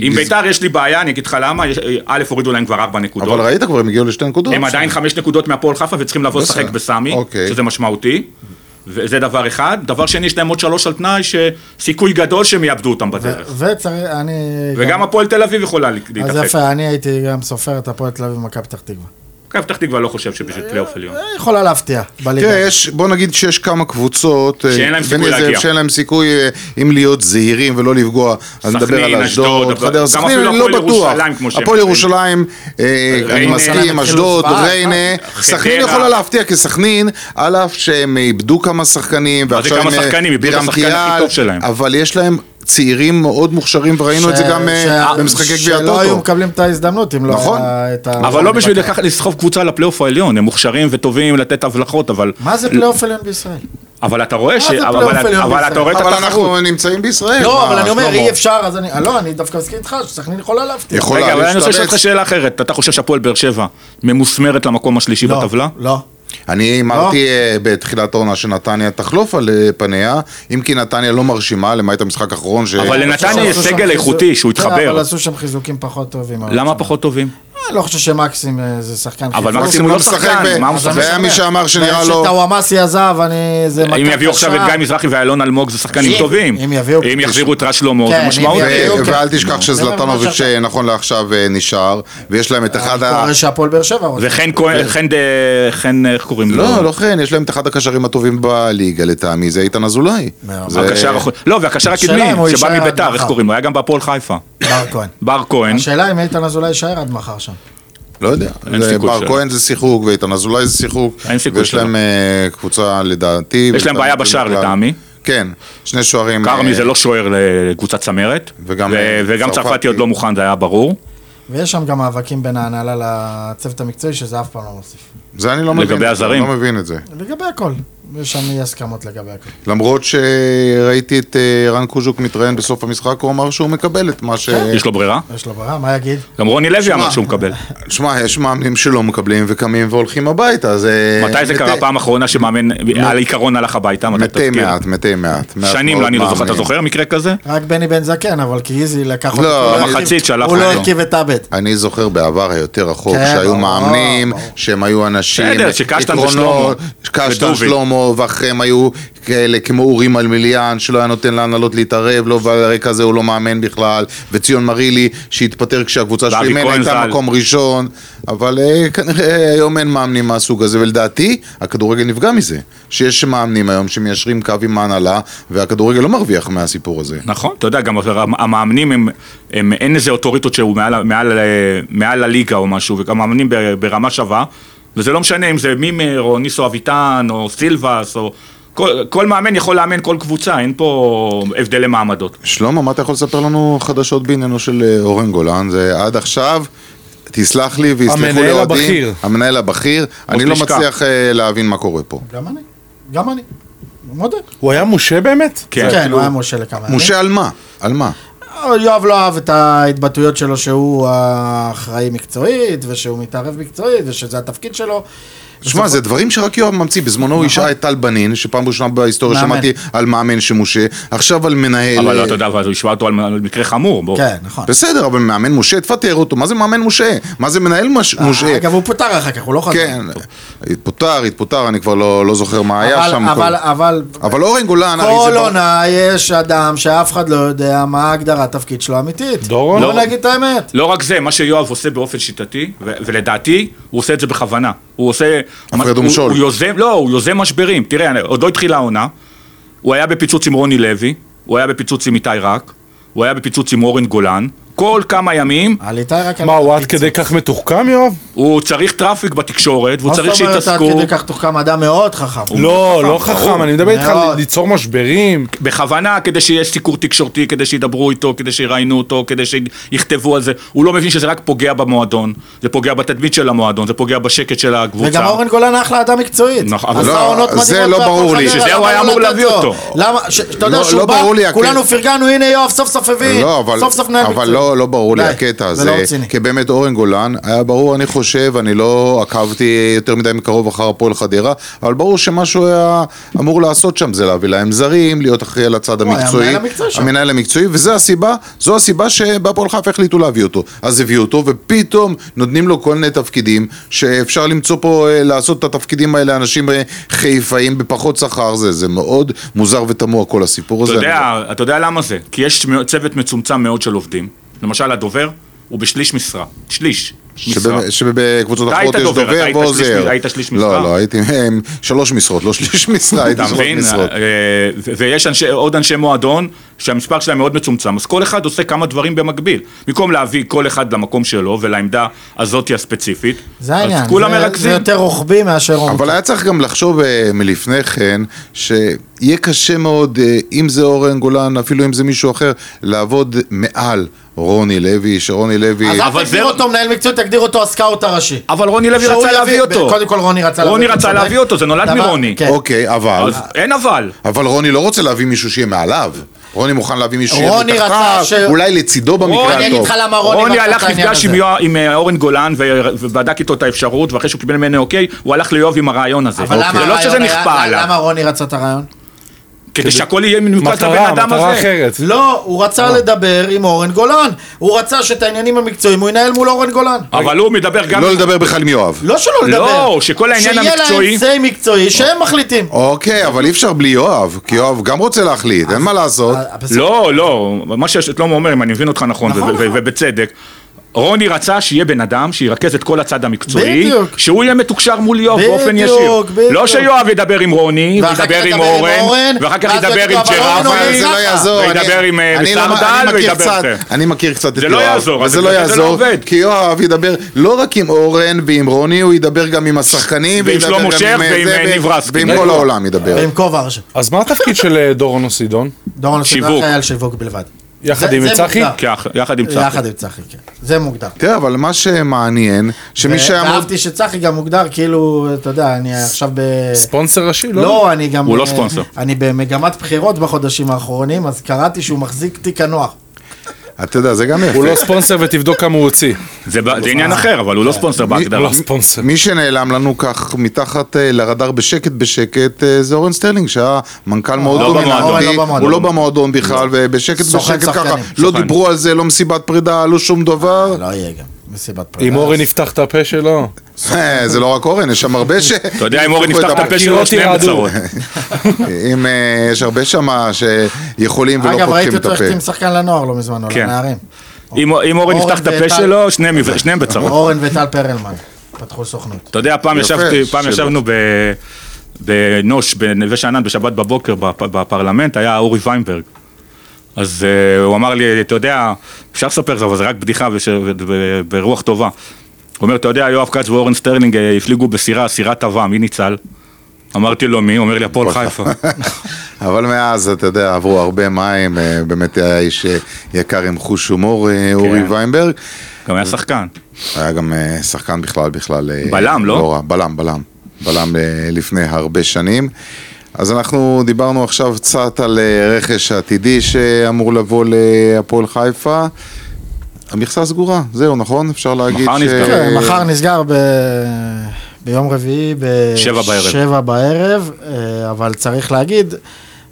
S3: עם
S1: לז-
S3: ביתר יש לי בעיה, אני אגיד לך למה, יש- אה, א', הורידו להם כבר ארבע
S1: אבל
S3: נקודות.
S1: ראית כבר, הם הגיעו לשתי נקודות.
S3: הם עדיין חמש נקודות מהפועל חיפה וצריכים לבוא
S1: בסדר.
S3: לשחק בסמי,
S1: אוקיי.
S3: שזה משמעותי. וזה דבר אחד. דבר שני, יש להם עוד שלוש על תנאי, שסיכוי גדול שהם יאבדו אותם בדרך.
S2: וצריך, אני...
S3: וגם הפועל תל אביב יכולה
S2: אז
S3: להתאפק.
S2: יפה, אני הייתי גם סופר את הפועל תל אביב ומכבי פתח תקווה.
S3: מכבי פתח תקווה לא חושב שבשביל פלייאוף עליון.
S2: אה, יכולה להפתיע. בליגה.
S1: תראה, כן, יש, בוא נגיד שיש כמה קבוצות, אה,
S3: שאין להם סיכוי
S1: בין איזה-
S3: להגיע.
S1: שאין להם סיכוי אה, אם להיות זהירים ולא לפגוע, אז נדבר
S3: סכנין,
S1: על
S3: אשדוד,
S1: אשדוד,
S3: אבל-
S1: חדרה,
S3: גם
S1: סכנין,
S3: אפילו
S1: אני לא
S3: הפועל
S1: בטוח,
S3: ירושלים, כמו שהם
S1: הפועל
S3: אומרים.
S1: ירושלים, אה, אני
S3: ריינה, כן,
S1: מסכים,
S2: הם התחילו
S1: אשדוד,
S2: ספרד,
S1: ריינה,
S3: חדרה.
S1: סכנין יכולה להפתיע, כי סכנין, על אף שהם איבדו כמה שחקנים, ועכשיו
S3: כמה
S1: הם, אה,
S3: שחקנים, איבדו את
S1: בירם
S3: השחקן הכי
S1: קיאל,
S3: טוב שלהם.
S1: אבל יש להם צעירים מאוד מוכשרים, וראינו את זה
S2: ש-
S1: גם אה,
S2: ש-
S1: במשחקי גביע
S2: שלא היו
S1: הטוטו.
S2: מקבלים את ההזדמנות אם לא
S1: נכון.
S2: היה את ה...
S3: אבל לא בשביל לקחת- לסחוב קבוצה לפלייאוף העליון, הם מוכשרים וטובים לתת הבלחות, אבל...
S2: מה
S1: לא.
S2: זה פלייאוף עליון בישראל?
S3: אבל אתה רואה ש...
S2: זה
S3: אבל-
S2: פלייאוף
S3: אבל
S2: עליון
S3: אבל
S2: בישראל?
S3: אתה רואה את
S1: אבל
S3: התחרות.
S1: אנחנו נמצאים בישראל.
S2: לא,
S1: מה,
S2: אבל אני אומר,
S1: שלמה?
S2: אי אפשר, אז אני... לא, אני דווקא מסכים איתך שסכנין יכולה להפתיע.
S1: יכול
S3: רגע,
S1: יכולה
S3: אבל אני רוצה לשאול אותך
S1: להשתבץ.
S3: שאלה אחרת. אתה חושב שהפועל באר שבע ממוסמרת למקום השלישי
S2: לא,
S3: בטבלה?
S2: לא.
S1: אני אמרתי אה, בתחילת העונה שנתניה תחלוף על אה, פניה, אם כי נתניה לא מרשימה, למעט המשחק האחרון ש...
S3: אבל לנתניה יש
S2: לא, עשו שם
S3: סגל
S2: חיזוק-
S3: איכותי שהוא
S2: כן, אבל
S3: יתחבר.
S2: עשו שם חיזוקים פחות טובים.
S3: למה
S2: אבל-
S3: פחות טובים?
S2: אני לא חושב שמקסים אה, זה שחקן
S3: אבל
S2: חיפה.
S3: מקסים הוא לא שחקן,
S1: ב-
S3: מה הוא משחק?
S1: והיה מי שאמר שנראה לו...
S2: כשטוואמאסי עזב, אני... זה
S3: אם
S2: מכה
S3: יביאו עכשיו את
S2: קשה.
S3: גיא מזרחי ואלון אלמוג, זה שחקנים
S2: אם-
S3: טובים.
S2: אם יביאו-
S3: אם יחזירו את רז שלמה, זה
S2: כן, אם
S3: משמעותי.
S2: יביאו-
S1: ו-
S2: אוקיי.
S1: אה, ואל
S3: לא.
S1: תשכח שזלטנוביץ'
S2: זה
S1: אה, נכון לעכשיו אה, נשאר, ויש להם את אחד
S2: אני
S1: ה...
S2: קורא שהפועל באר שבע רוצה.
S3: וחן כהן, חן, ד- חן, אה, איך קוראים לו?
S1: לא, לא כן, יש להם את אחד הקשרים הטובים בליגה לטעמי, זה איתן אזולאי.
S2: מאוד.
S1: זה-
S3: הקשר החו- לא, והקשר
S2: השאלה אם הוא
S3: הקדמי, שבא
S2: יישאר עד
S3: מביתר, איך
S2: מחר.
S3: קוראים לו? היה גם בהפועל חיפה.
S2: בר כהן.
S3: בר כהן.
S2: השאלה אם איתן אזולאי יישאר עד מחר שם.
S1: לא יודע.
S3: אין
S1: זה
S3: סיכוי
S1: בר
S3: שלא.
S1: כהן זה שיחוק, ואיתן אזולאי זה שיחוק.
S3: אין סיכוי
S1: ויש
S3: שלא.
S1: להם אה, קבוצה לדעתי.
S3: יש להם בעיה בשער
S1: בכלל.
S3: לטעמי.
S1: כן, שני שוערים.
S3: כרמי
S1: אה,
S3: זה לא שוער לקבוצת צמרת.
S1: וגם- אה,
S3: ו- וגם
S1: צרפתי.
S3: צרפתי עוד לא מוכן, זה היה ברור.
S2: ויש שם גם מאבקים בין ההנהלה לצוות המקצועי, שזה אף פעם לא מוסיף.
S1: זה אני לא מבין.
S3: לגבי הזרים.
S1: לא מבין את זה.
S2: לגבי הכל. יש שם אי הסכמות לגבי הכל.
S1: למרות שראיתי את אה, רן קוז'וק מתראיין בסוף המשחק, הוא אמר שהוא מקבל את מה ש...
S3: כן. יש לו ברירה?
S2: יש לו ברירה, מה יגיד?
S3: גם רוני לוי
S1: אה. שמע.
S3: אמר
S1: אה,
S3: שהוא מקבל.
S1: שמע, יש מאמנים שלא מקבלים וקמים והולכים הביתה, זה...
S3: מתי זה
S1: מתי-
S3: קרה פעם אחרונה שמאמן על עיקרון הלך הביתה? מתי
S1: מתי
S3: תזכיר?
S1: מעט, מתי מעט. מעט
S3: שנים,
S1: מאוד
S3: לא, אני לא זוכר. אתה
S1: מאמנים.
S3: זוכר מקרה כזה?
S2: רק בני בן זקן, אבל כי איזי לקח אותו.
S1: לא,
S2: הוא הרכיב-
S3: במחצית שלח
S2: הוא לא
S3: אותו.
S2: הרכיב את עבד.
S1: אני זוכר בעבר היותר רחוק,
S2: כן,
S1: שהיו
S2: ברור,
S1: מאמנים,
S2: ברור.
S1: שהם היו אנשים,
S3: בסדר, שקשטן
S1: עקרונות,
S3: ושלמה,
S1: קשטן
S3: ודובי.
S1: שלמה, ואחריהם היו כאלה כמו אורי מלמיליאן, שלא היה נותן להנהלות להתערב, לא ברקע הזה הוא לא מאמן בכלל, וציון מרילי, שהתפטר כשהקבוצה
S3: ואבי
S1: שהוא אימן
S3: כהן
S1: הייתה
S3: ז"ל.
S1: מקום ראשון, אבל אה, כנראה היום אין מאמנים מהסוג הזה, ולדעתי, הכדורגל נפגע מזה, שיש מאמנים היום שמיישרים קו עם ההנהלה, והכדורגל לא מרוויח מהסיפור הזה.
S3: נכון, אתה יודע, גם המאמנים הם, הם אין איזה אוטוריטות שהוא מעל, מעל, אה, מעל הליגה או משהו, וגם המאמנים ב- ברמה שווה, וזה לא משנה אם זה מימר או ניסו אביטן או סילבס או... כל, כל מאמן יכול לאמן כל קבוצה, אין פה הבדלי מעמדות.
S1: שלמה, מה אתה יכול לספר לנו חדשות בעניינו של אה, אורן גולן? זה עד עכשיו, תסלח לי ויסלחו לאוהדים.
S4: המנהל הבכיר.
S1: המנהל הבכיר. אני לא
S3: לשכה.
S1: מצליח אה, להבין מה קורה פה.
S2: גם אני. גם אני. מודה.
S4: הוא היה משה באמת?
S3: כן,
S1: כאילו,
S2: כן, הוא היה משה לכמה ימים.
S1: משה, על מה? על מה?
S2: יואב לא אהב את ההתבטאויות שלו שהוא האחראי מקצועית, ושהוא מתערב מקצועית, ושזה התפקיד שלו.
S1: שמע, זה דברים שרק יואב ממציא. בזמנו הוא השעה את טל בנין, שפעם ראשונה בהיסטוריה
S2: נכון. מאמן. לא,
S1: שמעתי על מאמן שמשה, עכשיו על מנהל...
S3: אבל
S1: אה,
S3: אתה יודע, אבל הוא השווה אותו על, על מקרה חמור, בוא.
S2: כן, נכון.
S1: בסדר, אבל מאמן משה, תפטר אותו. מה זה מאמן משה? מה זה מנהל מש- משה?
S2: אה, אגב, הוא פוטר אחר כך, הוא לא חזר.
S1: כן, התפוטר, התפוטר, אני כבר לא לא זוכר מה היה
S2: אבל,
S1: שם.
S2: אבל,
S1: כל-
S2: אבל,
S1: אבל אורן גולן, הרי
S2: כל
S1: זה... בר-
S2: עונה יש אדם שאף אחד לא יודע מה הגדרת תפקיד שלו האמיתית.
S4: דורון?
S2: בוא
S4: דורון.
S2: נגיד את האמת.
S3: לא רק זה, מה שיואב עושה באופן שיטתי, ו- ולדעתי, הוא עושה את זה בכוונה. הוא עושה...
S1: הפרדו
S3: הוא-
S1: משול.
S3: הוא יוזם, לא, הוא יוזם משברים. תראה, אני- עוד לא התחילה העונה, הוא היה בפיצוץ עם רוני לוי, הוא היה בפיצוץ עם איתי רק, הוא היה בפיצוץ עם אורן גולן, כל כמה ימים
S2: על איתי רק...
S4: מה, הוא עד כדי כך מתוחכם, יואב?
S3: הוא צריך טראפיק בתקשורת, והוא צריך
S2: מה זאת
S3: שיתעסקו,
S2: אומרת, עד כדי כך תוחכם אדם מאוד חכם.
S4: לא, לא
S3: ברור.
S4: חכם, אני מדבר איתך על
S2: מאוד.
S4: ליצור משברים.
S3: בכוונה, כדי שיהיה סיקור תקשורתי, כדי שידברו איתו, כדי שיראיינו אותו, כדי שיכתבו על זה. הוא לא מבין שזה רק פוגע במועדון, זה פוגע בתדמית של המועדון, זה פוגע בשקט של הקבוצה.
S2: וגם אורן גולן אחלה אדם מקצועית.
S3: נכון, אבל
S2: עשה
S1: לא,
S2: עונות
S1: זה
S2: מדהימות
S1: לא
S2: בהפועל
S1: ברור לי.
S2: חדרה,
S3: שזה הוא
S2: למה לא
S3: היה אמור
S2: לתת
S3: להביא
S2: לו?
S3: אותו.
S2: למה, ש- שאתה יודע
S1: לא-
S2: שהוא
S1: לא
S2: בא,
S1: ברור לי הקטע.
S2: כולנו פרגנו, הנה יואב סוף סוף הביא,
S1: לא, אבל,
S2: סוף סוף מנהל מקצועי.
S1: אבל לא, לא ברור לי
S2: די,
S1: הקטע
S2: זה לא
S1: הזה,
S2: רציני.
S1: כי באמת אורן גולן, היה ברור, אני חושב, אני לא עקבתי יותר מדי מקרוב אחר הפועל חדרה, אבל ברור שמה שהוא היה אמור לעשות שם זה להביא להם זרים, להיות אחראי על הצד
S2: היה
S1: המקצועי,
S2: המנהל המקצועי שם.
S1: המנהל המקצועי, וזה הסיבה, זו הסיבה שבהפועל חיפה החליטו להביא אותו. אז הביאו אותו, ופתאום נותנים לו כל מיני תפקידים, שאפשר למצוא פה, אה, לעשות את התפקידים האלה, אנשים אה, חיפאים בפחות שכר, זה, זה מאוד מוזר ותמוה כל הסיפור הזה.
S3: אתה
S1: אני- לא.
S3: יודע, אתה יודע למה זה? כי יש מ- צוות מצומצם מאוד של עובדים. למשל, הדובר הוא בשליש משרה. שליש משרה.
S1: שב- שבקבוצות
S3: אתה
S1: אחרות
S3: היית
S1: יש
S3: דובר, אתה
S1: דובר
S3: היית שליש-
S1: ועוזר.
S3: היית שליש משרה?
S1: לא, לא, הייתי הם, שלוש משרות, לא שליש משרה, הייתי
S3: אתה
S1: שלוש
S3: מבין?
S1: משרות.
S3: אה, ו- ויש אנשי- עוד אנשי מועדון שהמספר שלהם מאוד מצומצם, אז כל אחד עושה כמה דברים במקביל. במקום להביא כל אחד למקום שלו ולעמדה הזאתי הספציפית,
S2: זה העניין,
S3: אז כולם
S2: זה- זה
S3: מרכזים.
S2: יותר רוחבי מאשר עומק.
S1: אבל היה צריך גם לחשוב אה, מלפני כן, שיהיה קשה מאוד, אה, אם זה אורן גולן, אפילו אם זה מישהו אחר, לעבוד מעל רוני לוי, שרוני לוי...
S2: אז
S3: אבל
S2: אל תגדיר
S3: זה-
S2: אותו מנהל מקצועי, תגדיר אותו הסקאוט הראשי.
S3: אבל רוני לוי
S2: שהוא
S3: רצה
S2: יביא-
S3: להביא אותו.
S2: קודם כל רוני רצה
S3: רוני
S2: להביא
S3: רצה
S2: צודק.
S3: להביא אותו, זה נולד
S2: דבר-
S3: מרוני.
S2: כן.
S1: אוקיי, אבל...
S3: אז אין אבל.
S1: אבל רוני לא רוצה להביא מישהו שיהיה מעליו. רוני מוכן להביא מישהו שיהיה
S2: רוני רצה
S1: מתחתיו,
S2: ש-
S1: אולי לצידו במקרה
S2: אני אגיד
S1: הטוב.
S2: לך למה רוני...
S3: רוני
S2: מצא את
S3: הלך
S2: העניין
S3: נפגש עם
S2: הזה.
S3: יואב- עם אה, אורן גולן ו- ובדק איתו את האפשרות, ואחרי שהוא קיבל ממנו אוקיי, הוא הלך ליואב עם הרעיון הזה.
S2: אבל למה
S3: זה לא שזה
S2: הרעיון
S3: נכפה
S2: היה-
S3: עליו,
S2: למה רוני רצה את הרעיון?
S3: כדי שהכל יהיה מנוקד לבן
S4: מטרה,
S3: אדם
S4: מטרה
S3: הזה.
S4: אחרת.
S2: לא, הוא רצה לדבר עם אורן גולן. הוא רצה שאת העניינים המקצועיים הוא ינהל מול אורן גולן.
S3: אבל הוא מדבר גם...
S1: לא לדבר בכלל עם יואב.
S2: לא שלא לדבר.
S3: לא, שכל העניין המקצועי-
S2: שיהיה להם סיי מקצועי שהם מחליטים.
S1: אוקיי, אבל אי אפשר בלי יואב, כי יואב גם רוצה להחליט, אין מה לעשות.
S2: אה, בסדר.
S3: לא, לא, מה ששלמה אומר, אם אני מבין אותך נכון,
S2: נכון,
S3: ו- ו-
S2: נכון.
S3: ובצדק. רוני רצה שיהיה בן אדם שירכז את כל הצד המקצועי,
S2: בדיוק.
S3: שהוא יהיה מתוקשר מול יואב
S2: בדיוק,
S3: באופן ישיר.
S2: בדיוק.
S3: לא שיואב ידבר עם רוני,
S2: ואחר כך
S3: וידבר עם
S2: ידבר עם
S3: אורן,
S2: אורן,
S3: ואחר כך
S2: ואז
S3: ידבר
S2: יגידו,
S3: עם
S2: אבל
S3: ג'רפה.
S2: רוני
S1: אבל זה לא
S2: ככה.
S1: יעזור. אני-
S3: וידבר עם, אה,
S1: אני לא-
S3: ביסאם
S1: אני
S3: דל,
S1: מכיר
S3: וידבר
S1: קצת-
S3: זה.
S1: אני מכיר קצת את
S3: זה
S1: יואב.
S3: לא יעזור, אז
S1: וזה לא
S3: בגלל זה זה לא
S1: יעזור,
S3: עובד.
S1: כי יואב ידבר לא רק עם אורן ועם רוני, הוא ידבר גם עם השחקנים,
S3: ועם
S1: וידבר
S3: שלמה
S1: גם
S3: שך
S1: עם, אה,
S3: ועם,
S1: זה,
S3: אה,
S1: ו-
S3: ניב רסקין.
S1: ועם
S3: בטוח.
S1: כל העולם ידבר.
S3: לא.
S2: ועם כובע ראשי.
S4: אז מה התפקיד של אה, דורון אוסידון?
S2: דורון סדרה
S3: שיווק.
S2: היה על שיווק בלבד.
S4: יחד
S2: זה-
S4: עם
S2: זה
S4: צחי?
S2: מוגדר.
S3: כאח- יחד עם צחי.
S2: יחד עם צחי, כן. זה מוגדר.
S1: תראה, אבל מה שמעניין, שמי שהיה... מאוד-
S2: אהבתי שצחי גם מוגדר, כאילו, אתה יודע, אני עכשיו ב...
S4: ספונסר ראשי? לא.
S2: לא, אני גם...
S3: הוא לא
S2: אה,
S3: ספונסר.
S2: אני במגמת בחירות בחודשים האחרונים, אז קראתי שהוא מחזיק תיק הנוער.
S1: אתה יודע, זה גם יפה.
S4: הוא לא ספונסר ותבדוק כמה הוא הוציא.
S3: זה ב- זה עניין אחר, אבל הוא לא ספונסר
S4: הוא
S3: בהגדרה.
S4: לא ספונסר.
S1: מי שנעלם לנו כך מתחת אה, לרדאר בשקט בשקט אה, זה אורן סטרלינג שהיה מנכ"ל מאוד
S3: לא
S1: דומיננטי,
S2: במועדון, לא במועדון.
S1: הוא לא במועדון בכלל ובשקט
S2: סוכן
S1: בשקט ככה,
S2: שחקנים,
S1: לא
S3: סוכן.
S1: דיברו על זה, לא מסיבת פרידה, לא שום דבר,
S2: לא יהיה גם, מסיבת פרידה.
S4: אם אורן יפתח את הפה שלו,
S1: אה, זה לא רק אורן, יש שם הרבה ש...
S3: אתה יודע, אם אורן יפתח את הפה שלו,
S4: הקירות
S3: שניהם
S4: ירעדו.
S3: בצרות.
S1: אם אה, יש הרבה שמה שיכולים ולא
S2: אגב,
S1: פותחים
S2: ראיתי
S1: את
S2: אותו החתים
S1: הפה.
S2: שחקן לנוער לא מזמן, או
S3: כן.
S2: לנערים.
S3: אם אם אורן
S2: אורן
S3: יפתח את הפה
S2: וטל.
S3: שלו, שניהם יב- שניהם בצרות.
S2: אורן וטל פרלמן, פתחו סוכנות.
S3: אתה יודע, פעם,
S1: יפה,
S3: ישבתי, פעם
S1: שלא.
S3: ישבנו ב... בנוש, בנווה שאנן, בשבת בבוקר בפ, בפרלמנט, היה אורי ויינברג. אז uh, הוא אמר לי, אתה יודע, אפשר לספר את זה, אבל זה רק בדיחה וש... ו... ו... ברוח טובה. הוא אומר, אתה יודע, יואב כץ ואורן סטרלינג אה, הפליגו בסירה, סירת טבע, מי ניצל? אמרתי לו, מי? הוא אומר לי, הפועל חיפה.
S1: אבל מאז, אתה יודע, עברו הרבה מים, אה, באמת היה איש אה, יקר עם חוש הומור,
S3: כן.
S1: אה, אורי ויינברג.
S3: גם היה שחקן.
S1: היה גם אה, שחקן בכלל, בכלל... אה,
S3: בלם, לא?
S1: רע, בלם, בלם. בלם אה, לפני הרבה שנים. אז אנחנו דיברנו עכשיו קצת על אה, רכש עתידי שאמור לבוא להפועל חיפה. המכסה סגורה, זהו, נכון? אפשר להגיד
S3: מחר
S1: ש...
S3: נסגר.
S2: כן, מחר נסגר ב... ביום רביעי ב...
S3: שבע בערב.
S2: שבע בערב, אה, אבל צריך להגיד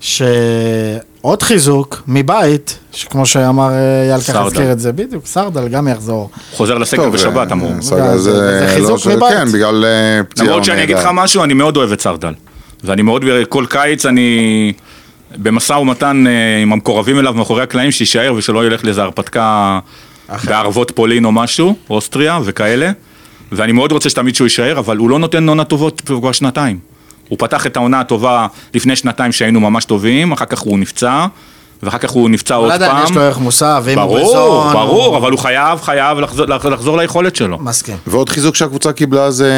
S2: שעוד חיזוק מבית, שכמו שאמר אה, אייל ככה
S3: סרדל.
S2: הזכיר את זה, בדיוק, סרדל גם יחזור.
S3: חוזר לסגל בשבת,
S1: אה,
S3: אמרו.
S1: סגל
S2: זה- זה חיזוק
S1: לא ש-
S2: מבית.
S1: כן, בגלל אה, פציעה.
S3: למרות שאני אגיד לך
S1: מהידיים.
S3: משהו, אני מאוד אוהב את סרדל. ואני מאוד, כל קיץ אני במשא ומתן אה, עם המקורבים אליו מאחורי הקלעים, שיישאר ושלא ילך לאיזה הרפתקה בערבות פולין או משהו, אוסטריה וכאלה. ואני מאוד רוצה שתמיד שהוא יישאר, אבל הוא לא נותן עונה טובות כבר שנתיים. הוא פתח את העונה הטובה לפני שנתיים שהיינו ממש טובים, אחר כך הוא נפצע, ואחר כך הוא נפצע
S2: אבל
S3: עוד
S2: עדיין לא יש לו
S3: פעם.
S2: ערך מוסף, ואם הוא
S3: ברור,
S2: בזון,
S3: ברור, אבל הוא חייב, חייב לחזור- לחזור ליכולת שלו.
S2: מסכים.
S1: ועוד חיזוק שהקבוצה קיבלה זה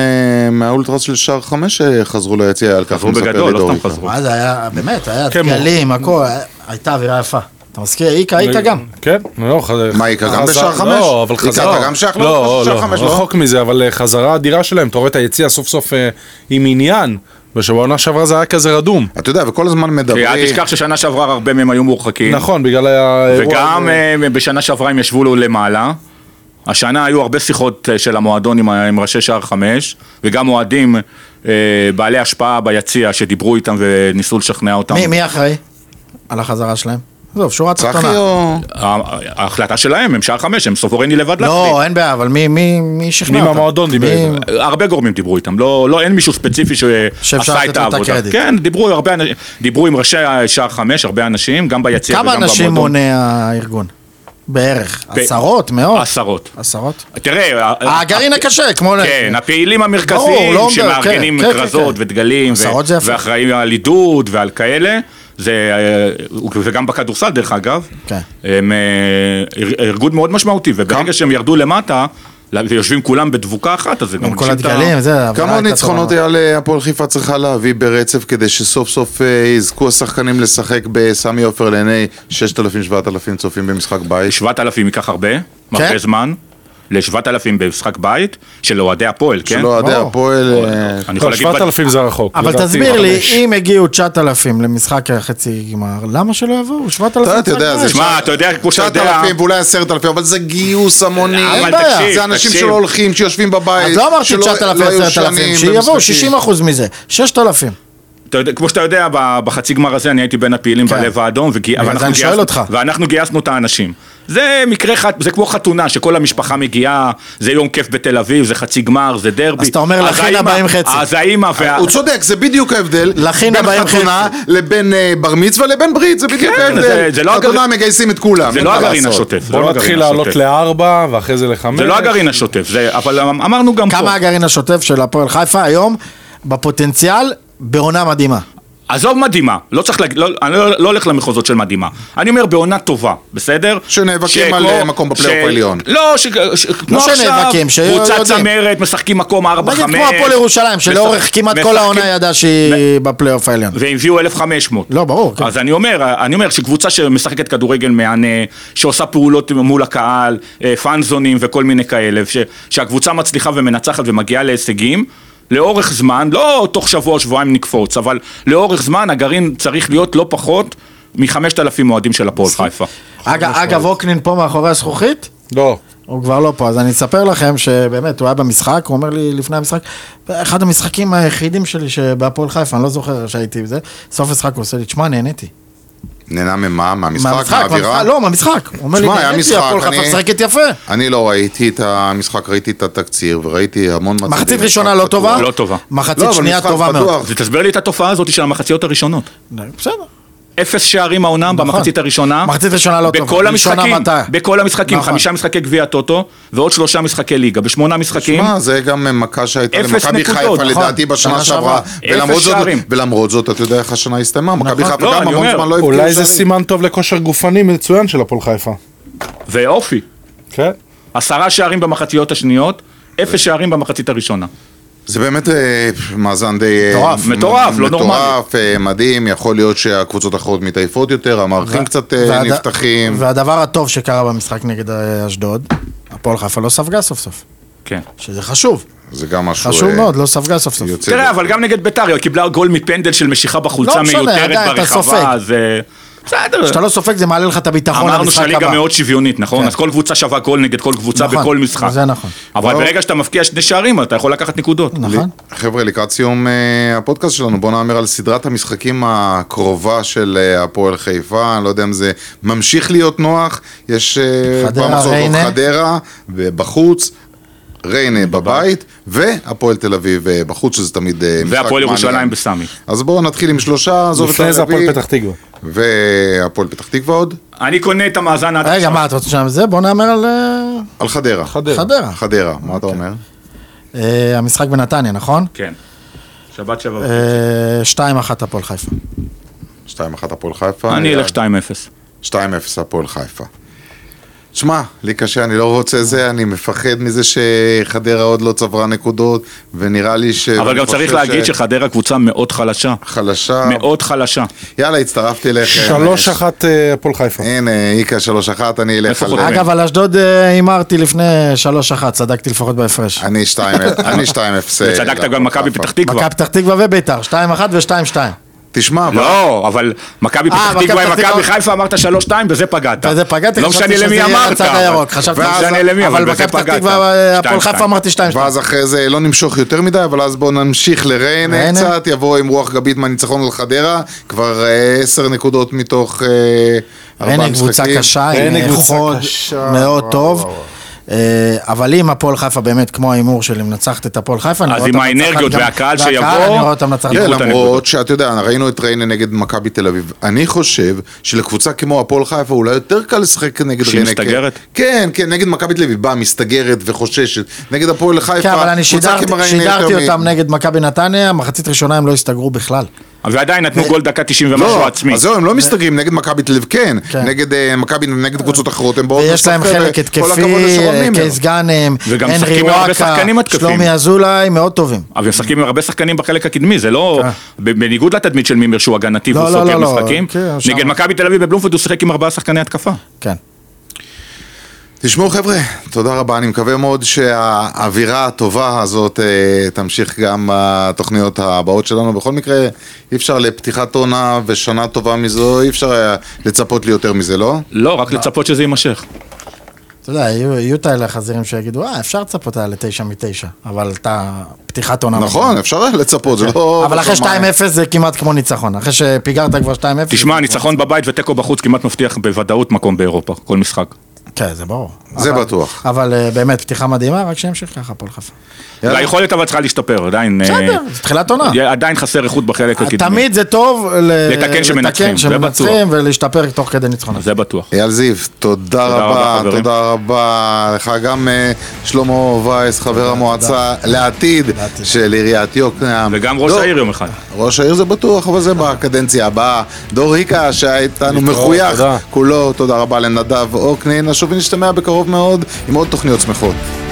S1: אה, מהאולטרס של שער חמש שחזרו ליציע, על כך
S3: חזרו
S1: הוא מספר לי
S3: בגדול, לא
S1: דורי.
S3: סתם חזרו.
S2: מה זה היה, באמת, היה
S4: כן,
S2: דגלים, הכל, היה- הייתה אווירה יפה. אתה מזכיר,
S3: לא,
S2: איקה, איקה גם.
S4: כן, לא, חזר.
S1: מה, איקה גם בשער חמש?
S4: לא, אבל
S1: איקה,
S4: חזרה.
S1: אתה גם שייך לו?
S4: לא,
S1: שייך
S4: לא,
S1: חמש, לא?
S4: רחוק מזה, אבל אה, חזרה אדירה שלהם, אתה רואה את היציאה סוף סוף אה, עם עניין, ושבעונה שעברה זה היה כזה רדום.
S1: אתה יודע, וכל הזמן
S3: כי
S1: מדברים...
S3: אוקיי, אל תשכח ששנה שעברה הרבה מהם היו מורחקים.
S4: נכון, בגלל האירוע.
S3: כן. וגם
S4: הזה.
S3: אה, בשנה שעברה הם ישבו לו למעלה. השנה היו הרבה שיחות אה, של המועדון עם ה- עם ראשי שער חמש, וגם אוהדים אה, בעלי השפעה ביציע שדיברו איתם וניסו לשכנע אותם.
S2: מי- מי אחראי על החזרה שלהם? עזוב, שורה
S1: צחי
S2: תחתונה.
S1: או...
S3: ה- ההחלטה שלהם, הם שער חמש, הם סוברני לבד
S2: לא, אין בעיה, אבל מי- מי מי שכנע
S4: מי
S2: אותם?
S4: מהמועדון דיבר
S2: מי-
S4: איתם?
S3: אה, הרבה גורמים דיברו איתם, לא, לא אין מישהו ספציפי
S2: שאפשר
S3: שעשה
S2: לתת
S3: את
S2: לו את
S3: העבודה.
S2: הקרדיט.
S3: כן, דיברו, הרבה, אנ- דיברו עם ראשי שער חמש, הרבה אנשים, גם ביציע וגם
S2: כמה
S3: במועדון.
S2: אנשים מונה הארגון? בערך. עשרות? מאות?
S3: עשרות.
S2: עשרות?
S3: תראה,
S2: הגרעין הקשה, כמו...
S3: אה, כן, הפעילים
S2: ברור,
S3: המרכזיים
S2: לא אומר,
S3: שמארגנים
S2: כן, כן,
S3: כרזות
S2: כן.
S3: ודגלים ו-
S2: מסעות זה יפה.
S3: ואחראים על עידוד ועל כאלה, זה, אה, וגם בכדורסל דרך אגב,
S2: כן.
S3: הם אה, אר- ארגון מאוד משמעותי, וברגע שהם ירדו למטה, ויושבים כולם בדבוקה אחת, אז זה גם
S2: עם כל
S3: מגשים את ה-
S2: הדגלים, זה... האווירה
S1: כמה עוד
S2: הייתה
S1: ניצחונות
S2: טובה.
S1: היה להפועל חיפה צריכה להביא ברצף כדי שסוף סוף אה, יזכו השחקנים לשחק בסמי עופר לעיני 6,000-7,000 צופים במשחק בית?
S3: 7,000 ייקח הרבה,
S2: כן?
S3: הרבה זמן, ל-7,000 במשחק בית, של אוהדי הפועל, כן?
S1: של אוהדי
S2: ברור.
S1: הפועל... אה,
S3: אני יכול
S4: לא,
S3: להגיד...
S4: 7,000 זה רחוק.
S2: אבל
S4: לדעתי.
S2: תסביר לי,
S3: חמש.
S2: אם הגיעו 9,000 למשחק החצי גמר, למה שלא יבואו? 7,000?
S1: אתה יודע, זה
S2: חצי
S1: שמע,
S2: גמר.
S3: שמע, אתה יודע, כמו שאתה יודע...
S1: 9,000 ואולי 10,000, אבל זה גיוס המוני.
S3: אבל
S1: אין בעיה.
S3: תקשיב,
S1: זה אנשים
S3: תקשיב.
S1: שלא הולכים, שיושבים בבית.
S2: אז לא אמרתי
S1: שלא-
S2: 9,000,
S1: לא היו
S2: 10,000,
S1: שנים
S2: שיבואו
S1: במשחקים.
S2: 60 אחוז מזה, 6,000.
S3: אתה יודע, כמו שאתה יודע, ב- בחצי גמר הזה אני הייתי בין הפעילים
S2: כן.
S3: בלב האדום, וגי...
S2: בגלל זה
S3: ואנחנו
S2: אני שואל
S3: גייסנו-
S2: אותך.
S3: ואנחנו גייסנו את האנשים. זה מקרה, ח... זה כמו חתונה, שכל המשפחה מגיעה, זה יום כיף בתל אביב, זה חצי גמר, זה דרבי.
S2: אז אתה אומר, לכן
S3: האמא-
S2: הבאים חצי.
S3: אז האימא וה...
S1: הוא צודק, זה בדיוק ההבדל
S2: לכן
S1: בין
S2: הבאים
S1: חתונה לבין אה, בר מצווה לבין ברית, זה בדיוק
S3: כן,
S1: ההבדל.
S3: זה- זה לא
S1: חתונה
S3: הגרעין-
S1: מגייסים את כולם.
S3: זה
S1: אין
S3: לא
S1: מה
S3: הגרעין
S1: לעשות.
S3: השוטף. זה לא
S4: בוא
S3: הגרעין
S4: נתחיל לעלות
S3: השוטף.
S4: לארבע, ואחרי זה לחמש.
S3: זה לא הגרעין השוטף, זה... אבל אמ- אמרנו גם פה.
S2: כמה הגרעין השוטף של הפועל חיפה היום, בפוטנציאל, בעונה מדהימה.
S3: עזוב מדהימה, לא צריך להגיד, לא, אני לא, לא הולך למחוזות של מדהימה. אני אומר בעונה טובה, בסדר?
S1: שנאבקים על,
S3: שכמו-
S1: אה, מקום בפלייאוף
S3: ש-
S1: העליון.
S3: לא, ש- ש- כמו
S2: לא
S3: עכשיו,
S2: שנאבקים, ש-
S3: קבוצה
S2: יודעים.
S3: צמרת, משחקים מקום 4-5.
S2: נגיד כמו הפועל ירושלים, שלאורך
S3: משחק-
S2: כמעט כל
S3: משחקים-
S2: העונה ידעה שהיא בפלייאוף העליון.
S3: והביאו 1,500.
S2: לא, ברור, כן.
S3: אז אני אומר, אני אומר שקבוצה שמשחקת כדורגל מהנה, שעושה פעולות מול הקהל, אה, פאנזונים וכל מיני כאלה, ש, שהקבוצה מצליחה ומנצחת ומגיעה להישגים, לאורך זמן, לא תוך שבוע או שבועיים נקפוץ, אבל לאורך זמן הגרעין צריך להיות לא פחות מ-5,000 אוהדים של הפועל חיפה.
S2: אגב, אגב, אוקנין פה מאחורי הזכוכית?
S4: לא.
S2: הוא כבר לא פה, אז אני אספר לכם שבאמת, הוא היה במשחק, הוא אומר לי לפני המשחק, אחד המשחקים היחידים שלי שבהפועל חיפה, אני לא זוכר שהייתי בזה, סוף המשחק הוא עושה לי, תשמע, נהניתי.
S1: נהנה ממה? מהמשחק?
S2: מהמשחק,
S1: מהאווירה?
S2: מהמשחק, לא, מהמשחק. הוא אומר לי,
S1: תשמע, היה
S2: נהניתי,
S1: משחק,
S2: הפועל חיפה
S1: אני-
S2: משחקת יפה.
S1: אני לא ראיתי את המשחק, ראיתי את התקציר וראיתי המון מצבים.
S2: מחצית
S1: משחק
S2: ראשונה לא
S1: פתוח.
S2: טובה?
S3: לא טובה.
S1: לא,
S2: מחצית
S1: אבל
S2: שנייה
S1: משחק
S2: טובה מאוד.
S1: פתוח.
S3: זה תסביר לי את התופעה הזאת של המחציות הראשונות.
S2: בסדר.
S3: אפס שערים העונה במחצית הראשונה.
S2: נכון. מחצית ראשונה לא טובה.
S3: בכל
S2: ראשונה
S3: המשחקים,
S2: מטעה.
S3: בכל המשחקים,
S2: נכון.
S3: חמישה משחקי גביע טוטו, ועוד שלושה משחקי ליגה, בשמונה משחקים.
S1: שמע, זה גם מכה שהייתה
S3: אפס
S1: למכבי
S3: נקודות,
S1: חיפה
S3: נכון.
S1: לדעתי בשנה
S2: שנה
S1: שעברה.
S3: שעברה.
S1: ולמרות
S3: אפס
S1: זאת-
S3: שערים.
S1: ולמרות זאת, אתה יודע איך השנה הסתיימה, מכבי
S2: נכון.
S1: חיפה
S3: לא,
S1: גם
S3: אני
S1: המון
S3: אומר,
S1: זמן לא הבקיעו
S4: אולי זה
S1: שערים.
S4: סימן טוב לכושר גופני מצוין של הפועל חיפה.
S3: ואופי,
S4: כן.
S3: עשרה שערים במחציות השניות, אפס שערים במחצית הראשונה.
S1: זה באמת אה, מאזן די... אה,
S3: מטורף,
S1: מ-
S3: מטורף, לא
S1: מטורף, אה, מדהים, יכול להיות שהקבוצות האחרות מתעייפות יותר, המערכים קצת אה,
S2: והד-
S1: נפתחים.
S2: והדבר הטוב שקרה במשחק נגד אה, אשדוד, הפועל חיפה לא ספגה סוף סוף,
S3: כן.
S2: שזה חשוב,
S1: זה גם משהו...
S2: חשוב
S1: אה,
S2: מאוד, לא ספגה סוף סוף.
S1: יוצא
S3: תראה, אבל גם נגד ביתר, היא קיבלה גול מפנדל של משיכה בחולצה
S2: לא משנה,
S3: מיותרת
S2: עדיין, אתה סופג.
S3: ברחבה, אז... אה,
S2: כשאתה
S3: בסדר.
S2: לא סופג זה מעלה לך את הביטחון
S3: אמרנו
S2: למשחק
S3: שהליגה
S2: הבא.
S3: מאוד שוויונית, נכון?
S2: כן.
S3: אז כל קבוצה שווה גול נגד כל קבוצה
S2: נכון,
S3: בכל משחק.
S2: זה נכון.
S3: אבל
S1: בואו.
S3: ברגע שאתה מבקיע שני שערים, אתה יכול לקחת נקודות.
S2: נכון.
S1: חבר'ה, לקראת סיום אה, הפודקאסט שלנו, בואו נאמר על סדרת המשחקים הקרובה של אה, הפועל חיפה, אני לא יודע אם זה ממשיך להיות נוח, יש אה,
S2: חדרה,
S1: פעם אחת
S2: ריינה.
S1: חדרה ו- בחוץ, ריינה בבית, והפועל תל אביב אה, בחוץ, שזה תמיד אה, משחק
S3: והפועל ירושלים
S1: מעניין.
S3: בסמי.
S1: אז בואו נתחיל עם שלושה, עזוב את אוקיי.
S4: לפני זה הפועל
S1: הרביעי,
S4: פתח תקווה.
S1: והפועל פתח תקווה עוד,
S3: אני קונה את המאזן עד
S2: רגע, מה, אתה רוצה שם זה? בוא נאמר על אה,
S1: על חדרה.
S2: חדרה.
S1: חדרה, מה אתה אומר?
S2: אה, המשחק בנתניה, נכון?
S3: כן. שבת שבת.
S2: אה, 2-1 הפועל חיפה.
S1: 2-1 הפועל חיפה. אה,
S3: אני אלך 2-0.
S1: 2-0 הפועל חיפה. שמע, לי קשה, אני לא רוצה זה, אני מפחד מזה שחדרה עוד לא צברה נקודות, ונראה לי ש...
S3: אבל גם
S1: אני
S3: צריך
S1: חושב
S3: להגיד
S1: ש- אה.
S3: שחדרה קבוצה מאוד חלשה.
S1: חלשה.
S3: מאוד חלשה.
S1: יאללה, הצטרפתי אליכם.
S4: 3-1 אה, הפועל חיפה.
S1: הנה, איקה 3-1, אני אלך
S3: איפה
S1: על...
S3: חותמת?
S2: אגב, על אשדוד אה, הימרתי לפני 3-1, צדקתי לפחות בהפרש.
S1: אני 2-0. אני 2-0. לא,
S3: וצדקת גם מכבי פתח תקווה.
S2: מכבי פתח תקווה וביתר, 2-1 ו-2-2.
S1: תשמע, אבל...
S3: לא, אבל מכבי
S2: אה,
S3: פתח
S2: מכבי
S3: תקווה,
S2: פתח
S3: מכבי
S2: תקווה.
S3: חיפה אמרת 3-2, בזה פגעת.
S2: וזה פגעתי,
S3: לא
S2: חשבתי
S3: משנה
S2: שזה
S3: למי
S2: יהיה
S3: אמרת.
S2: הצד הירוק, חשבתי
S3: לא
S1: ואז-
S3: משנה למי,
S2: אבל
S3: אבל בזה
S2: מכבי פתח
S3: פגעת.
S2: תקווה, אה, הפועל
S3: 2-2.
S2: חיפה אמרתי 2-2.
S1: ואז אחרי זה לא נמשוך יותר מדי, אבל אז בואו נמשיך לריינה
S2: ריינה?
S1: קצת, יבוא עם רוח גבית מהניצחון על חדרה, כבר אה, עשר נקודות מתוך אה, ארבעה משחקים.
S2: ריינה קבוצה קשה, עם
S4: ריינה קבוצה
S2: חוד
S4: קשה,
S2: מאוד
S1: וואו,
S2: טוב.
S1: וואו, וואו.
S2: אה, אבל אם הפועל חיפה באמת, כמו ההימור שלי, מנצחת את הפועל חיפה, אני
S3: אז
S2: רואה
S3: עם
S2: אותה מנצחת
S3: האנרגיות
S2: גם-
S3: והקהל שיבוא,
S2: אני רואה כן, אותה מנצחת.
S1: תראה,
S3: את הנקודות.
S1: כן, למרות שאתה יודע, ראינו את ריינה נגד מכבי תל אביב. אני חושב שלקבוצה כמו הפועל חיפה אולי יותר קל לשחק נגד
S3: כשהיא
S1: ריינה.
S3: מסתגרת?
S1: כן, כן, כן, נגד מכבי תל אביב באה, מסתגרת וחוששת. נגד הפועל חיפה,
S2: כן, אבל אני
S1: קבוצה
S2: שידרתי-
S1: כמו ריינה
S2: שידרתי
S1: יותר מ-
S2: אותם נגד מכבי נתניה, מחצית ראשונה הם לא הסתגרו בכלל.
S3: ועדיין נתנו גול דקה 90 ומשהו
S1: לא,
S3: עצמי.
S1: אז זהו, הם לא מסתגרים נגד מכבי תל אביב, כן.
S2: כן.
S1: נגד אה, מכבי, נגד קבוצות אחרות, הם באות...
S2: ויש להם
S1: לשחק,
S2: חלק
S1: וכל הכבוד
S2: התקפי,
S1: לשרון
S2: אה,
S1: מימר.
S2: קייס גאנם,
S3: וגם
S2: הנרי
S3: משחקים עם הרבה
S2: וואקה,
S3: שחקנים התקפיים.
S2: שלומי אזולאי, מאוד טובים.
S3: אבל הם משחקים עם הרבה שחקנים בחלק הקדמי, זה לא... ב- בניגוד לתדמית של מימר שהוא הגנתי
S2: כן. לא,
S3: והוא
S2: לא,
S3: סוגר
S2: לא, לא,
S3: משחקים.
S2: כן, שם.
S3: נגד מכבי תל אביב בבלומפילד הוא שיחק עם ארבעה שחקני התקפה.
S2: כן.
S1: תשמעו חבר'ה, תודה רבה, אני מקווה מאוד שהאווירה הטובה הזאת אה, תמשיך גם בתוכניות הבאות שלנו. בכל מקרה, אי אפשר לפתיחת עונה ושנה טובה מזו, אי אפשר היה לצפות לי יותר מזה, לא?
S3: לא, רק לצפות שזה יימשך.
S2: אתה יודע, יהיו יהיו את האלה החזירים שיגידו, אה, אפשר לצפות על לתשע מתשע, אבל אתה פתיחת עונה.
S1: נכון, אפשר היה לצפות, זה לא...
S2: כן. אבל אחרי
S1: בשמיים.
S2: 2-0 זה כמעט כמו ניצחון, אחרי שפיגרת כבר 2-0.
S3: תשמע, ניצחון בבית ותיקו בחוץ כמעט מבטיח בוודאות מקום באירופה, כל משחק.
S2: כן, זה ברור.
S1: זה
S2: אבל-
S1: בטוח.
S2: אבל אה, באמת, פתיחה מדהימה, רק שימשיך ככה הפועל חיפה.
S3: אה,
S1: יאללה.
S3: היכולת אבל צריכה להשתפר, עדיין...
S2: בסדר,
S3: אה,
S2: זה תחילת עונה.
S3: עדיין חסר איכות בחלק הקדמי.
S2: אה, תמיד זה טוב ל-
S3: לתקן שמנצחים, זה
S2: שמנצחים ולהשתפר תוך כדי ניצחונות.
S3: זה בטוח.
S1: אייל זיו, תודה
S3: רבה,
S1: רבה,
S3: חברים.
S1: תודה רבה לך גם אה, שלמה וייס, חבר המועצה לעתיד
S2: לעתיד.
S1: של עיריית יוקנעם. לא,
S3: וגם ראש
S1: דור-
S3: העיר יום אחד.
S1: ראש העיר זה בטוח, אבל זה בקדנציה הבאה. דור היקה שהיה איתנו
S4: להתראות,
S1: מחוייך
S4: תודה.
S1: כולו, תודה רבה לנדב אוקנין. נשוב ונשתמע בקרוב מאוד עם עוד תוכניות שמחות.